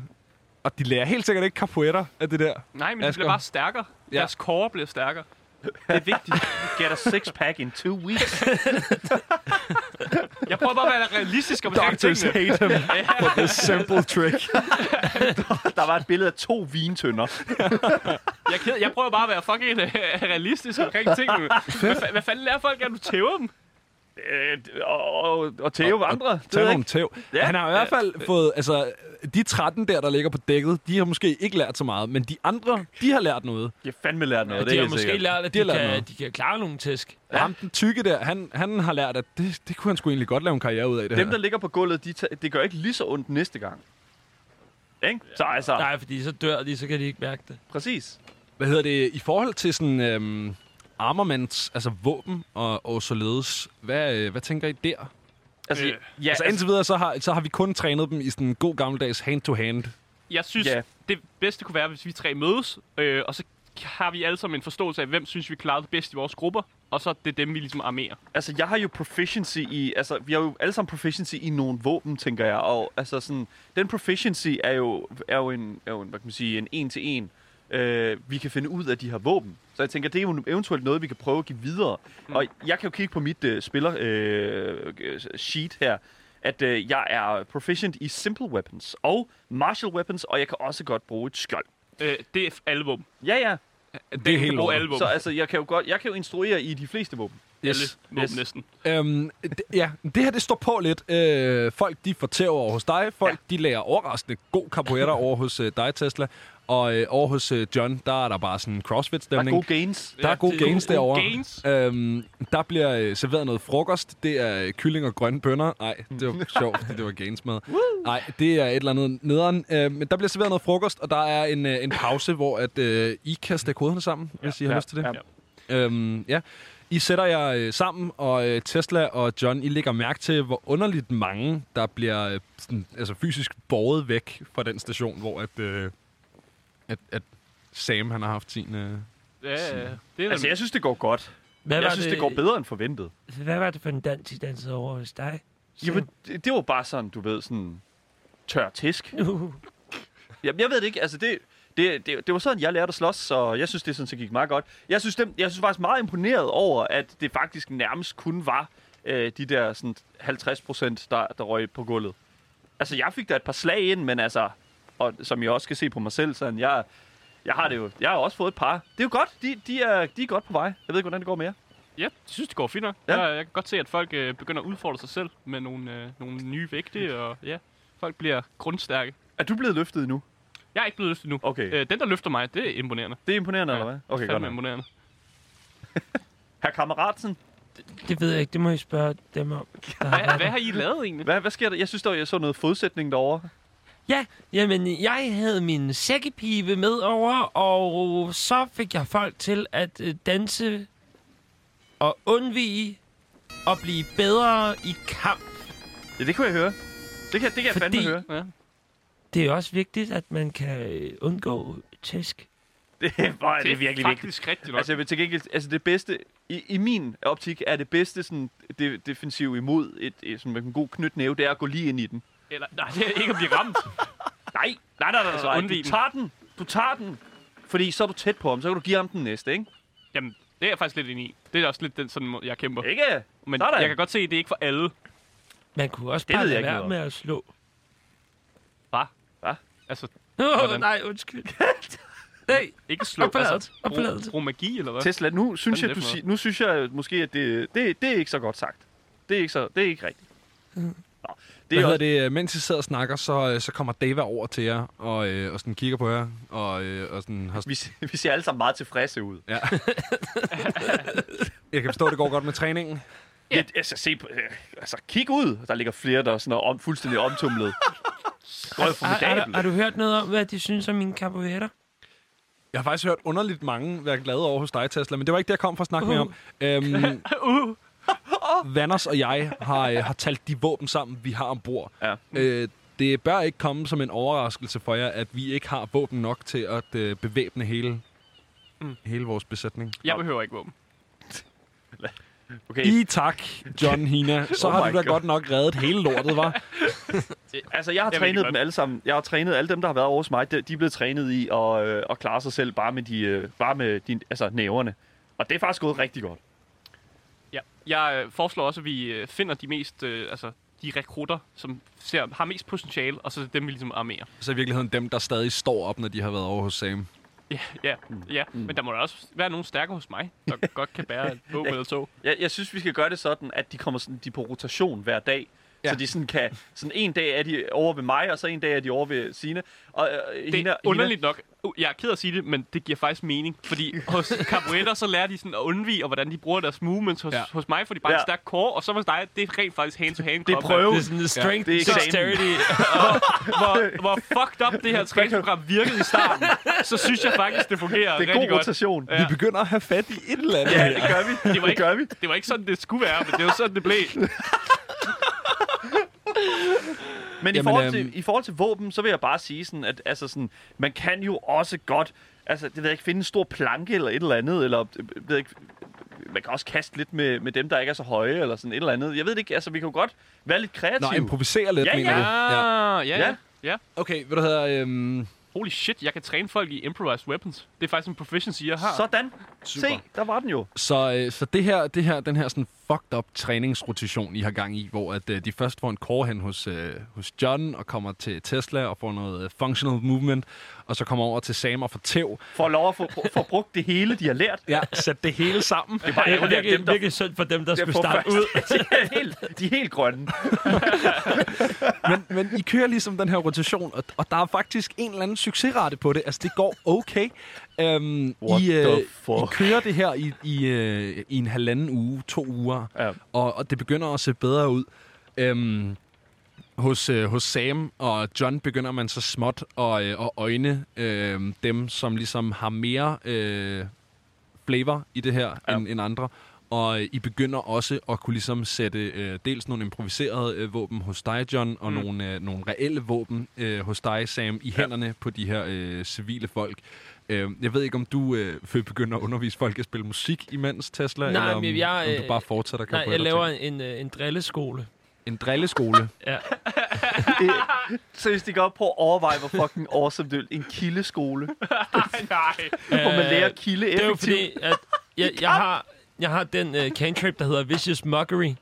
A: og de lærer helt sikkert ikke capoeira af det der.
B: Nej, men de
A: Asger.
B: bliver bare stærkere.
A: Ja.
B: Ja. Deres core bliver stærkere.
E: Det er vigtigt. Get a six pack in two (laughs) weeks.
B: Jeg prøver bare at være realistisk omkring
A: Doctors
B: tingene.
A: hate him for this
E: (laughs)
A: simple trick.
E: Der var et billede af to vintønder.
B: Jeg, er ked, jeg prøver bare at være fucking øh, realistisk
A: (laughs)
B: omkring tingene. Hvad, fa- hvad fanden lærer folk, at du tæver dem?
E: Øh, og, og, og tæve andre. Det ved
A: Tag
E: jeg
A: nogle
E: ikke.
A: tæv. Ja,
E: Ja.
A: han har i hvert fald fået, altså, de 13 der, der ligger på dækket, de har måske ikke lært så meget, men de andre, de har lært noget.
E: Jeg har fandme lært noget.
F: Og
E: det
F: de
E: er
F: har
E: helt
F: måske
E: sikkert.
F: lært, at
A: De
F: de,
A: har
F: de,
A: lært
F: kan,
A: noget.
F: de kan klare nogle tæsk.
A: Ja. Ham, den tykke der, han, han har lært, at det, det kunne han sgu egentlig godt lave en karriere ud af det
E: Dem,
A: her.
E: der ligger på gulvet, de ta- det gør ikke lige så ondt næste gang. Ikke? Så altså,
F: Nej, fordi så dør de, så kan de ikke mærke det.
E: præcis.
A: Hvad hedder det? I forhold til sådan øhm, armaments, altså våben og, og således, hvad, øh, hvad tænker I der? Ja,
E: Altså,
B: Øh,
E: ja,
A: altså indtil videre, så har, så har vi kun trænet dem i sådan en god gammeldags hand-to-hand.
B: Jeg synes,
E: Ja.
B: yeah. det bedste kunne være, hvis vi tre mødes, øh, og så har vi alle sammen en forståelse af, hvem synes, vi klarede det bedst i vores grupper, og så er det dem, vi ligesom armerer.
E: altså, jeg har jo proficiency i... Altså, vi har jo alle sammen proficiency i nogle våben, tænker jeg. Og altså, sådan, den proficiency er jo, er jo, en, er jo en, hvad kan man sige, en en-til-en. Øh, vi kan finde ud af de her våben. Så jeg tænker, det er jo eventuelt noget, vi kan prøve at give videre. Mm. Og jeg kan jo kigge på mit øh, spiller øh, øh, sheet her, at øh, jeg er proficient i simple weapons og martial weapons, og jeg kan også godt bruge et skjold.
B: Øh, det er f- alle våben.
E: Ja, ja.
B: Det er
A: helt lort.
B: alle våben.
E: Så altså, jeg kan jo godt, jeg kan jo instruere i de fleste våben.
B: Alle våben
E: Yes.
B: næsten.
A: Øhm, d- ja, det her det står på lidt. Øh, folk de får tæv over hos dig. Folk ja. de lærer overraskende god capoeira over hos øh, dig, Tesla. Og øh, over hos øh, John, der er der bare sådan en
E: Der er
A: crossfit-stemning.
E: gode gains.
A: Der er gode
H: det er
A: gains
H: gode
A: derovre.
H: gains.
A: Øhm, der bliver øh, serveret noget frokost. Det er øh, kylling og grønne bønner. Nej, det var sjovt, fordi det var gains mad. Nej, det er et eller andet nederen. Øh, men der bliver serveret noget frokost, og der er en, øh, en pause, hvor at, øh, I kan stikke koderne sammen, hvis I har
E: ja,
A: lyst til det. Ja. Øhm, ja. I sætter jer øh, sammen, og øh, Tesla og John, I lægger mærke til, hvor underligt mange, der bliver øh, sådan, altså fysisk båret væk fra den station, hvor at, øh, at, at Sam han har haft sin... Øh,
B: Ja, ja, det er
E: Altså, jeg synes, det går godt.
F: Hvad
E: Jeg synes, det går bedre end forventet.
F: Hvad var det for en dans, I dansede over hos dig?
E: Jamen, det, det var bare sådan, du ved, sådan tør tisk.
F: Uh,
E: Jamen, jeg ved det ikke. Altså, det, det, det, det var sådan, jeg lærte at slås, så jeg synes, det sådan, så gik meget godt. Jeg synes, dem, jeg synes faktisk meget imponeret over, at det faktisk nærmest kun var øh, de der sådan 50 procent, der, der røg på gulvet. Altså, jeg fik da et par slag ind, men altså, og som jeg også kan se på mig selv, sådan, jeg, jeg har det jo. Jeg har også fået et par. Det er jo godt. De, de, er, de er godt på vej. Jeg ved ikke, hvordan det går med jer.
B: Ja, jeg synes, det går fint nok.
E: Ja.
B: Ja. Jeg, jeg kan godt se, at folk øh, begynder at udfordre sig selv med nogle, øh, nogle nye vægte,
E: Mm.
B: og ja, folk bliver grundstærke.
E: Er du blevet løftet nu?
B: Jeg er ikke blevet løftet nu.
E: Okay.
B: Øh, den, der løfter mig, det er imponerende.
E: Det er imponerende,
B: Ja.
E: eller hvad? Okay, godt
B: Fandme
E: nok. (laughs)
B: imponerende.
E: Herr Kammeratsen,
F: det ved jeg ikke, det må I spørge dem om. Der har
B: Hvad,
F: været
B: hvad
F: der.
B: har I lavet egentlig?
E: hvad, hvad sker der? Jeg synes, der, jeg så noget fodsætning derovre.
F: Ja, jamen, jeg havde min sækkepibe med over, og så fik jeg folk til at øh, danse og undvige og blive bedre i kamp.
E: Ja, det kunne jeg høre. Det kan, det kan jeg fandme
F: Fordi-
E: høre. (laughs)
F: Det er også vigtigt, at man kan øh, undgå tæsk.
E: Det, hvor er det, det virkelig vigtigt.
B: faktisk rigtigt nok.
E: Altså, jeg vil til gengæld, altså det bedste, i, i min optik, er det bedste sådan, det, defensiv imod et, et, sådan, med en god knytnæve, det er at gå lige ind i den.
B: Eller, nej, det er ikke at blive ramt.
E: Nej, nej, nej, nej,
B: Altså,
E: nej, nej.
B: undvig
E: Du
B: den.
E: tager den. Du tager den. Fordi så er du tæt på ham, så kan du give ham den næste, ikke?
B: Jamen, det er jeg faktisk lidt enig i. Det er også lidt den sådan, måde, jeg kæmper.
E: Ikke?
B: Men
E: Sådan.
B: jeg kan godt se, at det er ikke for alle.
F: Man kunne også
E: Det
F: bare
E: ved jeg
F: lade
E: ikke
F: være med
E: noget
F: at slå.
B: Altså,
F: Oh,
B: Hvordan?
F: nej, undskyld. Nej,
B: ikke slå.
F: Og forladet.
B: Altså,
F: Og
B: brug,
F: forladet.
B: brug magi, eller hvad?
E: Tesla, nu synes,
B: Hvad er
E: jeg,
B: det
E: du,
B: for
E: sig- nu synes jeg måske, at det, det, det er ikke så godt sagt. Det er ikke, så, det er ikke rigtigt. Nå,
A: Det
E: det er
A: Hvad
E: også,
A: hedder det? øh, Mens I sidder og snakker, så, øh, så kommer Dava over til jer, og, øh, og sådan kigger på jer, og, øh, og sådan har...
E: vi, se- vi (laughs) ser alle sammen meget tilfredse ud. (laughs)
A: Ja. jeg kan forstå, at det går godt med træningen.
E: Ja. Jeg, altså, se, på- øh, altså, kig ud. Der ligger flere, der er sådan er om, fuldstændig (laughs) omtumlet. Røv
F: har, har, du-
E: formidabel.
F: har du hørt noget om, hvad de synes om mine capoeira?
A: Jeg har faktisk hørt underligt mange være glade over hos dig, Tesla, men det var ikke det, jeg kom for at snakke uh. mere om. Øhm,
E: Uh-huh. (laughs)
A: uh. Vanders og jeg har, øh, har talt de våben sammen, vi har ombord.
E: Ja.
A: Øh, det bør ikke komme som en overraskelse for jer, at vi ikke har våben nok til at øh, bevæbne hele, mm. hele vores besætning.
B: Jeg behøver ikke våben.
E: Okay,
A: I tak, John Hina. Så
E: Oh
A: (laughs) oh har
E: my
A: du da
E: God.
A: godt nok reddet hele lortet, var?
E: altså jeg har
B: Jeg ved
E: trænet
B: ikke,
E: dem
B: hvad-
E: alle sammen. Jeg har trænet alle dem, der har været over hos mig. De, de er blevet trænet i at, øh, at klare sig selv bare med, de, øh, bare med de, altså, næverne. Og det er faktisk gået rigtig godt.
B: Ja. Jeg øh, foreslår også, at vi øh, finder de mest, øh, altså de rekrutter, som ser, har mest potentiale, og så er det dem, vi ligesom armerer.
A: (laughs) Så i virkeligheden dem, der stadig står op, når de har været over hos Sam.
B: Ja, ja,
E: Mm.
B: ja. Men der må da også være nogen stærkere hos mig,
E: (laughs)
B: der godt kan bære et våben eller to.
E: Jeg, jeg synes, vi skal gøre det sådan, at de kommer sådan, de er på rotation hver dag. Ja. Så de sådan kan... Sådan en dag er de over ved mig, og så en dag er de over ved Sine. Og, øh,
B: Det er underligt nok. Uh, Jeg er ked af at sige det, men det giver faktisk mening. Fordi
E: (laughs)
B: hos Carburetter, så lærer de sådan at undvige, og hvordan de bruger deres movements. Hos,
A: Ja.
B: ja. hos mig får de bare ja.
E: Ja.
B: en stærk core, og så hos dig, det er rent faktisk hand-to-hand
E: Det er
B: combat.
E: prøven.
F: Det er sådan strength,
E: det er
F: ja,
E: eksamen.
F: dexterity.
B: (laughs) Hvor,
E: (laughs)
B: hvor fucked up det her træningsprogram virkede i starten, så synes jeg faktisk, det fungerer
E: Det er
B: rigtig
E: god
B: godt.
E: rotation.
A: Ja. Vi begynder at have fat i et eller andet
E: Ja,
A: ja.
E: det gør vi.
B: Det var,
E: Det
B: ikke,
E: gør vi.
B: det var ikke sådan, det skulle være, men det var sådan, det blev.
E: Men Jamen,
A: Jamen,
E: i, forhold til,
A: øhm,
E: i forhold til våben, så vil jeg bare sige, sådan, at altså sådan, man kan jo også godt altså, det ved jeg ikke, finde en stor planke eller et eller andet, eller øh, ved jeg ikke, øh, man kan også kaste lidt med, med dem, der ikke er så høje, eller sådan et eller andet. Jeg ved det ikke, altså vi kan jo godt være lidt kreative.
A: Nå, improvisere lidt,
E: Ja,
A: mener
E: (laughs) ja.
A: du? Ja.
B: Ah, ja,
E: Ja.
B: ja. ja.
A: Okay, hvad du hedder... Øhm,
B: Holy shit, jeg kan træne folk i improvised weapons. Ah. Det er faktisk en proficiency, jeg har.
E: Sådan.
A: Super.
E: Se, der var den jo.
A: så øh, så det her, det her, den her sådan fucked up træningsrotation, I har gang i, hvor at, øh, de først får en core hen hos, øh, hos John og kommer til Tesla og får noget øh, functional movement, og så kommer over til Sam og får tæv.
E: For lov at få, få brugt det hele, de har lært.
A: Ja, sæt det hele sammen.
E: Det er bare
F: Det er
E: ærgerligt, at
F: virkelig,
E: dem, der
F: virkelig synd for dem, der
E: der
F: skulle
E: får
F: starte
E: først- (laughs)
F: ud.
E: de, er helt, de er helt grønne.
A: men, men I kører ligesom den her rotation, og, og der er faktisk en eller anden succesrate på det. Altså, det går okay. Øhm,
E: What
A: I,
E: the
A: øh, I
E: fuck?
A: kører det her i, i, øh, i en halvanden uge, to uger,
E: Ja.
A: og, og det begynder at se bedre ud. Øhm, hos, øh, hos Sam og John begynder man så småt at, øh, at øjne øh, dem, som ligesom har mere øh, flavor i det her ja. end, end andre. Og øh, I begynder også at kunne ligesom sætte øh, dels nogle improviserede øh, våben hos dig, John, og mm. nogle, øh, nogle reelle våben øh, hos dig, Sam, i hænderne ja. på de her øh, civile folk. Øh, jeg ved ikke, om du øh, vil begynde at undervise folk at spille musik imens, Tesla,
F: Nej,
A: eller om,
F: men jeg,
A: om du
F: øh,
A: bare fortsætter
F: Nej, jeg laver en, øh, en drilleskole.
A: en drilleskole.
F: Ja.
E: Seriøst, de går op på at overveje, hvor fucking awesome det er. En kildeskole,
G: Nej, nej.
E: hvor man
F: Øh,
E: lærer kilde
F: Det er jo
E: effektivt.
F: fordi, at jeg, jeg, har, jeg har den øh, cantrip, der hedder Vicious Mockery.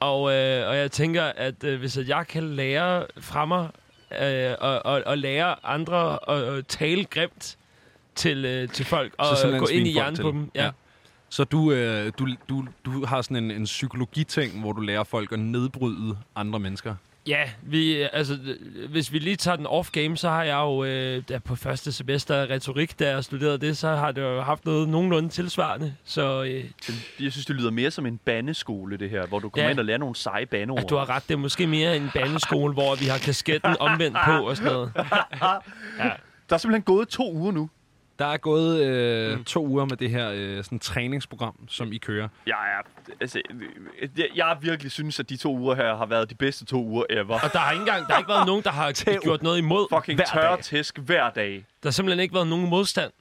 F: Og, øh, og jeg tænker, at øh, hvis at jeg kan lære fra mig øh, og, og, og lære andre at, at tale grimt til, øh, til folk og
A: simpelthen
F: gå ind i
A: svine folk
F: hjernen
A: til.
F: på dem. Ja.
A: Ja. Så du, øh, du, du, du har sådan en, en psykologiting, hvor du lærer folk at nedbryde andre mennesker.
F: Ja, vi, øh, altså, øh, hvis vi lige tager den off-game, så har jeg jo øh, der på første semester af retorik, da jeg studerede det, så har det jo haft noget nogenlunde tilsvarende. Så øh,
E: Jeg synes, det lyder mere som en bandeskole, det her, hvor du kommer
F: Ja.
E: ja. ind og lærer nogle seje bandeord.
F: ja, du har ret, det er måske mere en bandeskole, hvor vi har kasketten omvendt på og sådan noget.
E: Der er simpelthen gået to uger nu.
A: Der er gået øh, mm. to uger med det her øh, sådan træningsprogram, som I kører.
E: Jeg, er, altså, jeg, jeg virkelig synes, at de to uger her har været de bedste to uger ever.
F: Og der har ikke engang der har ikke været nogen, der har gjort noget imod.
E: Fucking tørre tæsk hver dag.
F: Der har simpelthen ikke været nogen modstand.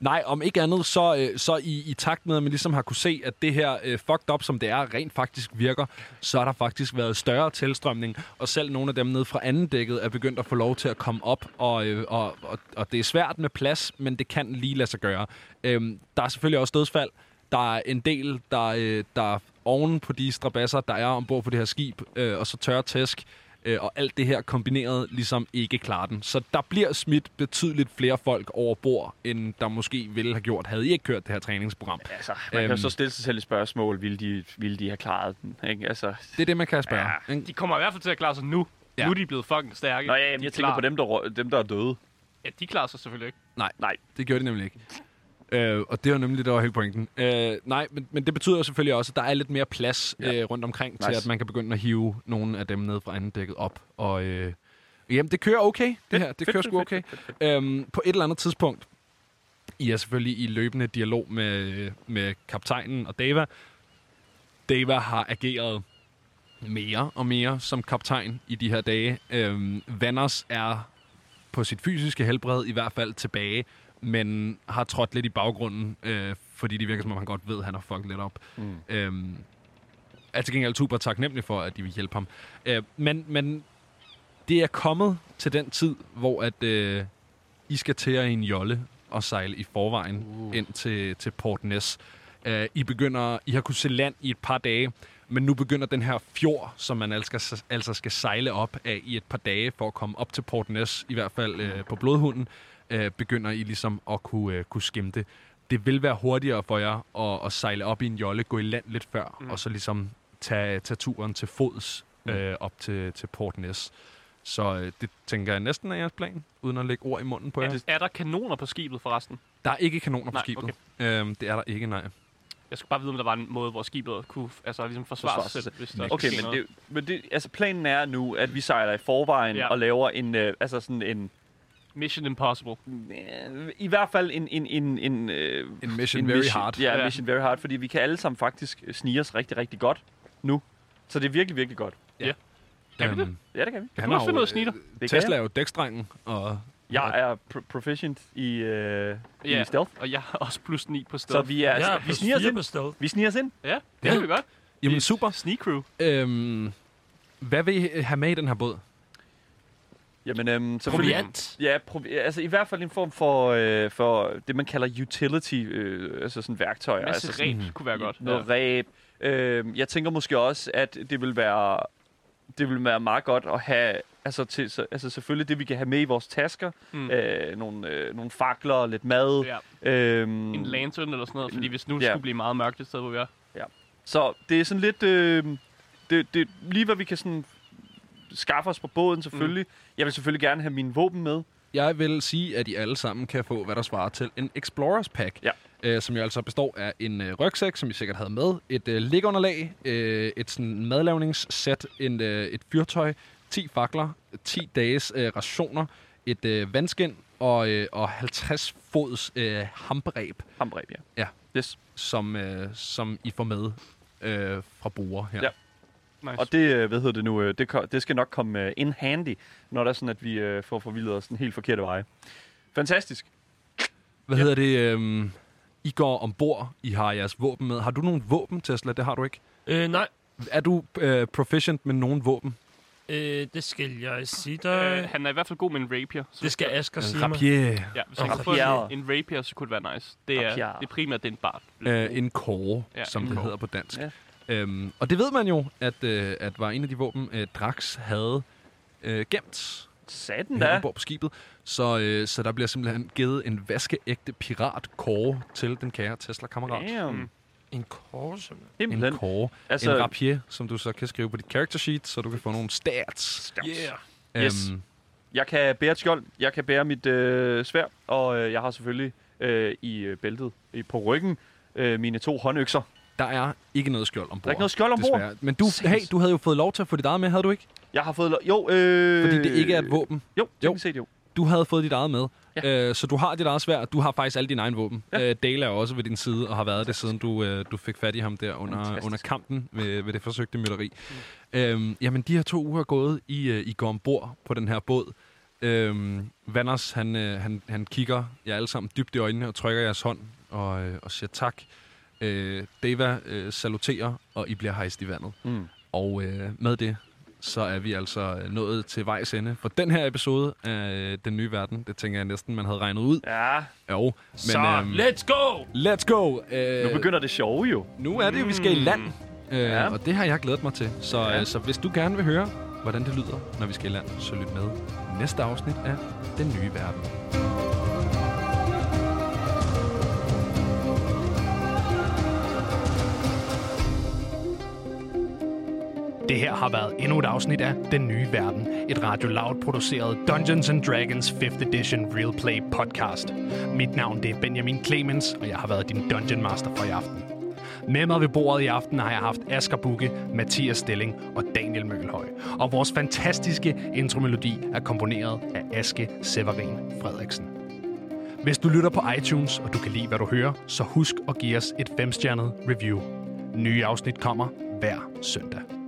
A: Nej, om ikke andet, så, øh, så i, i takt med, at man ligesom har kunne se, at det her øh, fucked up, som det er, rent faktisk virker, så har der faktisk været større tilstrømning, og selv nogle af dem nede fra anden dækket er begyndt at få lov til at komme op, og, øh, og, og, og det er svært med plads, men det kan lige lade sig gøre. Øhm, der er selvfølgelig også dødsfald. Der er en del, der, øh, der er oven på de strabasser, der er ombord på det her skib, øh, og så tørre tæsk, øh, og alt det her kombineret ligesom ikke klarer den. Så der bliver smidt betydeligt flere folk over bord, end der måske ville have gjort, havde I ikke kørt det her træningsprogram.
E: Altså, man øhm. kan
A: Øhm.
E: jo så stille sig selv et spørgsmål, ville de, ville de have klaret den? Ikke? Altså,
A: Det er det, man kan spørge. Ja,
G: De kommer i hvert fald til at klare sig nu.
A: Ja.
G: Ja. Nu er de blevet fucking stærke.
E: Nå ja, jamen,
G: De er
E: jeg tænker
G: klar.
E: på dem der, rø- dem, der er døde.
G: Ja, de klarer sig selvfølgelig ikke.
A: Det gjorde de nemlig ikke. Øh, og det var nemlig, det var hele pointen. Øh, nej, men, men det betyder jo selvfølgelig også, at der er lidt mere plads ja. øh, rundt omkring, nice. til
E: Nice.
A: at man kan begynde at hive nogle af dem ned fra anden dækket op. Og øh, jamen, det kører okay, det her. Det kører sgu okay. Øhm, på et eller andet tidspunkt, I er selvfølgelig i løbende dialog med, med kaptajnen og Dava. Dava har ageret mere og mere som kaptajn i de her dage. Øhm, Vanders er på sit fysiske helbred i hvert fald tilbage, men har trådt lidt i baggrunden, øh, fordi det virker som om han godt ved, at han har fucket lidt op. Mm. Øhm, er til gengæld super taknemmelig for, at de vil hjælpe ham. Øh, men, men det er kommet til den tid, hvor at, øh, I skal til at i en jolle og sejle i forvejen uh. ind til, til Port Ness. Øh, I, begynder, I har kunnet se land i et par dage, men nu begynder den her fjord, som man altså skal, altså skal sejle op af i et par dage for at komme op til Port Ness, i hvert fald øh, på blodhunden, øh, begynder I ligesom at kunne, øh, kunne skimte. Det vil være hurtigere for jer at, at sejle op i en jolle, gå i land lidt før, mm. og så ligesom tage, tage turen til fods øh, op til, til Port Ness. Så øh, det tænker jeg næsten er jeres plan, uden at lægge ord i munden på jer.
G: Er, er der kanoner på skibet forresten?
A: Der er ikke kanoner på
G: Nej,
A: skibet. Øhm, det er der ikke, nej.
G: Jeg skal bare vide, om der var en måde, hvor skibet kunne altså, ligesom forsvare
E: Forsvare
G: sig selv,
E: sig
G: hvis der
E: Okay,
G: sker
E: men,
G: noget.
E: det, men det, altså, planen er nu, at vi sejler i forvejen
G: Ja.
E: ja. og laver en, øh, altså sådan en,
G: Mission Impossible.
E: øh, i hvert fald en, en, en, en, øh,
A: En mission
E: en
A: very hard.
E: Ja,
G: Ja.
E: ja, mission very hard, fordi vi kan alle sammen faktisk snige os rigtig, rigtig godt nu. Så det er virkelig, virkelig godt.
G: Kan vi det?
E: Ja, det kan vi.
A: Øhm, han
G: må
A: har
G: også finde
A: jo,
G: noget snitter.
A: øh,
E: Det kan
A: Tesla
E: jeg.
A: er jo dækstrengen, og
E: Jeg er pro- proficient i, øh,
G: Ja.
E: i stealth,
G: Og jeg har også plus 9 på
E: så
G: stedet.
E: vi, er,
F: Ja,
E: ja, vi sniger os ind.
F: stedet.
E: Vi sniger os ind.
G: Ja, det kan vi godt.
A: jamen super.
G: Sneak crew.
A: Øhm, hvad vil I have med i den her båd?
E: Jamen, øhm, selvfølgelig.
F: Proviant.
E: Ja, provi- altså i hvert fald en form for, øh, for det, man kalder utility, øh, altså sådan værktøjer.
G: Masse
E: altså sådan
G: ræb kunne være godt.
E: Noget ræb, Øh, jeg tænker måske også, at det vil være, det vil være meget godt at have, altså, til, så- altså selvfølgelig det, vi kan have med i vores tasker.
G: Mm.
E: Mm. Øh, nogle, øh, nogle fakler, lidt mad.
G: Ja.
E: Øhm,
G: En lantern eller sådan noget, fordi hvis nu
E: Ja.
G: yeah. skulle blive meget mørkt et sted, hvor vi er.
E: Så det er sådan lidt... Øh, det, det, lige hvad vi kan sådan skaffe os på båden, selvfølgelig. Mm. Jeg vil selvfølgelig gerne have mine våben med.
A: Jeg vil sige, at I alle sammen kan få, hvad der svarer til en Explorers Pack.
E: Ja.
A: Øh, som jo altså består af en øh, rygsæk, som I sikkert havde med, et øh, liggeunderlag, øh, et sådan madlavningssæt, en, øh, et fyrtøj, 10 fakler, 10 dages øh, rationer, et øh, vandskin og, øh, og 50 fods øh, hamperæb,
E: Hambreb, ja.
A: Ja.
E: Yes.
A: som, øh, som I får med øh, fra borer her.
E: Ja.
G: Nice.
E: Og det, øh, hvad hedder det nu, øh, det, ko- det skal nok komme øh, in handy, når det er sådan, at vi øh, får forvildet os den helt forkerte veje. Fantastisk.
A: Hvad hedder det? Øh, I går ombord, I har jeres våben med. Har du nogle våben, Tesla? Det har du ikke.
F: Øh, nej,
A: Er du øh, proficient med nogen våben?
F: øh, det skal jeg sige dig.
G: Øh, han er i hvert fald god med en rapier. Så,
F: Det skal Asger sige mig.
A: Rapier.
G: ja, hvis han
E: Og
G: kan få en,
E: rapier.
G: en rapier, så kunne det være nice. Det er,
E: Rapier.
G: det er primært, det er en bart.
A: Øh, en kåre, ja,
G: Ja,
A: som
G: en
A: det
G: kåre.
A: hedder på dansk. Ja.
E: Ja.
A: Øhm, og det ved man jo, at, øh, at var en af de våben, øh, Drax havde øh, gemt
E: Satan
A: her
E: da.
A: ombord på skibet. Så, øh, så der bliver simpelthen givet en vaskeægte piratkåre til den kære Tesla-kammerat.
E: Damn.
F: En kors, simpelthen.
A: En
E: Mm. Simpelthen.
A: kåre. Altså,
E: Altså-
A: en rapier, som du så kan skrive på dit character sheet, så du kan få nogle stats.
F: Yeah.
E: Yes.
A: Øhm,
E: Jeg kan bære et skjold, jeg kan bære mit øh, svær, og øh, jeg har selvfølgelig øh, i øh, bæltet, i, på ryggen, øh, mine to håndøkser.
A: der er ikke noget skjold ombord.
E: Der er ikke noget skjold ombord.
A: desværre. Men du, hey, du havde jo fået lov til at få dit eget med, havde du ikke?
E: Jeg har fået... Lo- jo, øh...
A: Fordi det ikke er et våben.
E: Jo,
A: Jo.
E: jo. Set, jo.
A: du havde fået dit eget med.
E: Ja.
A: Ja. Øh, så du har dit eget svær, du har faktisk alle dine egne våben. Ja. Øh, Dale er også ved din side, og har været det, siden du, øh, du fik fat i ham der under,
E: Fantastisk.
A: under kampen ved, ved det forsøgte mytteri. Mm. Øhm, jamen, de her to uger er gået. I, øh, I går ombord på den her båd. Øhm, Vanders, han, øh, han, han kigger jer alle sammen dybt i øjnene og trykker jeres hånd og, øh, og siger tak. Øh, Deva øh, saluterer, og I bliver hejst i vandet.
E: Mm.
A: Og øh, med det, så er vi altså nået til vejs ende for den her episode af øh, Den Nye Verden. Det tænker jeg næsten, man havde regnet ud.
E: Ja,
A: Jo, men
F: Så,
A: øhm,
F: let's go!
A: let's go! Øh,
E: nu begynder det sjove jo.
A: nu er det jo, vi skal i land. Øh, ja.
E: Ja.
A: Og det har jeg glædet mig til. Så, ja. øh, så hvis du gerne vil høre, hvordan det lyder, når vi skal i land, så lyt med i næste afsnit af Den Nye Verden.
C: Det her har været endnu et afsnit af Den Nye Verden, et Radio Loud produceret Dungeons and Dragons 5th Edition Real Play podcast. Mit navn det er Benjamin Clemens, og jeg har været din Dungeon Master for i aften. Med mig ved bordet i aften har jeg haft Asger Bukke, Mathias Stilling og Daniel Møgelhøj. Og vores fantastiske intromelodi er komponeret af Aske Severin Frederiksen. Hvis du lytter på iTunes, og du kan lide, hvad du hører, så husk at give os et femstjernet review. Nye afsnit kommer hver søndag.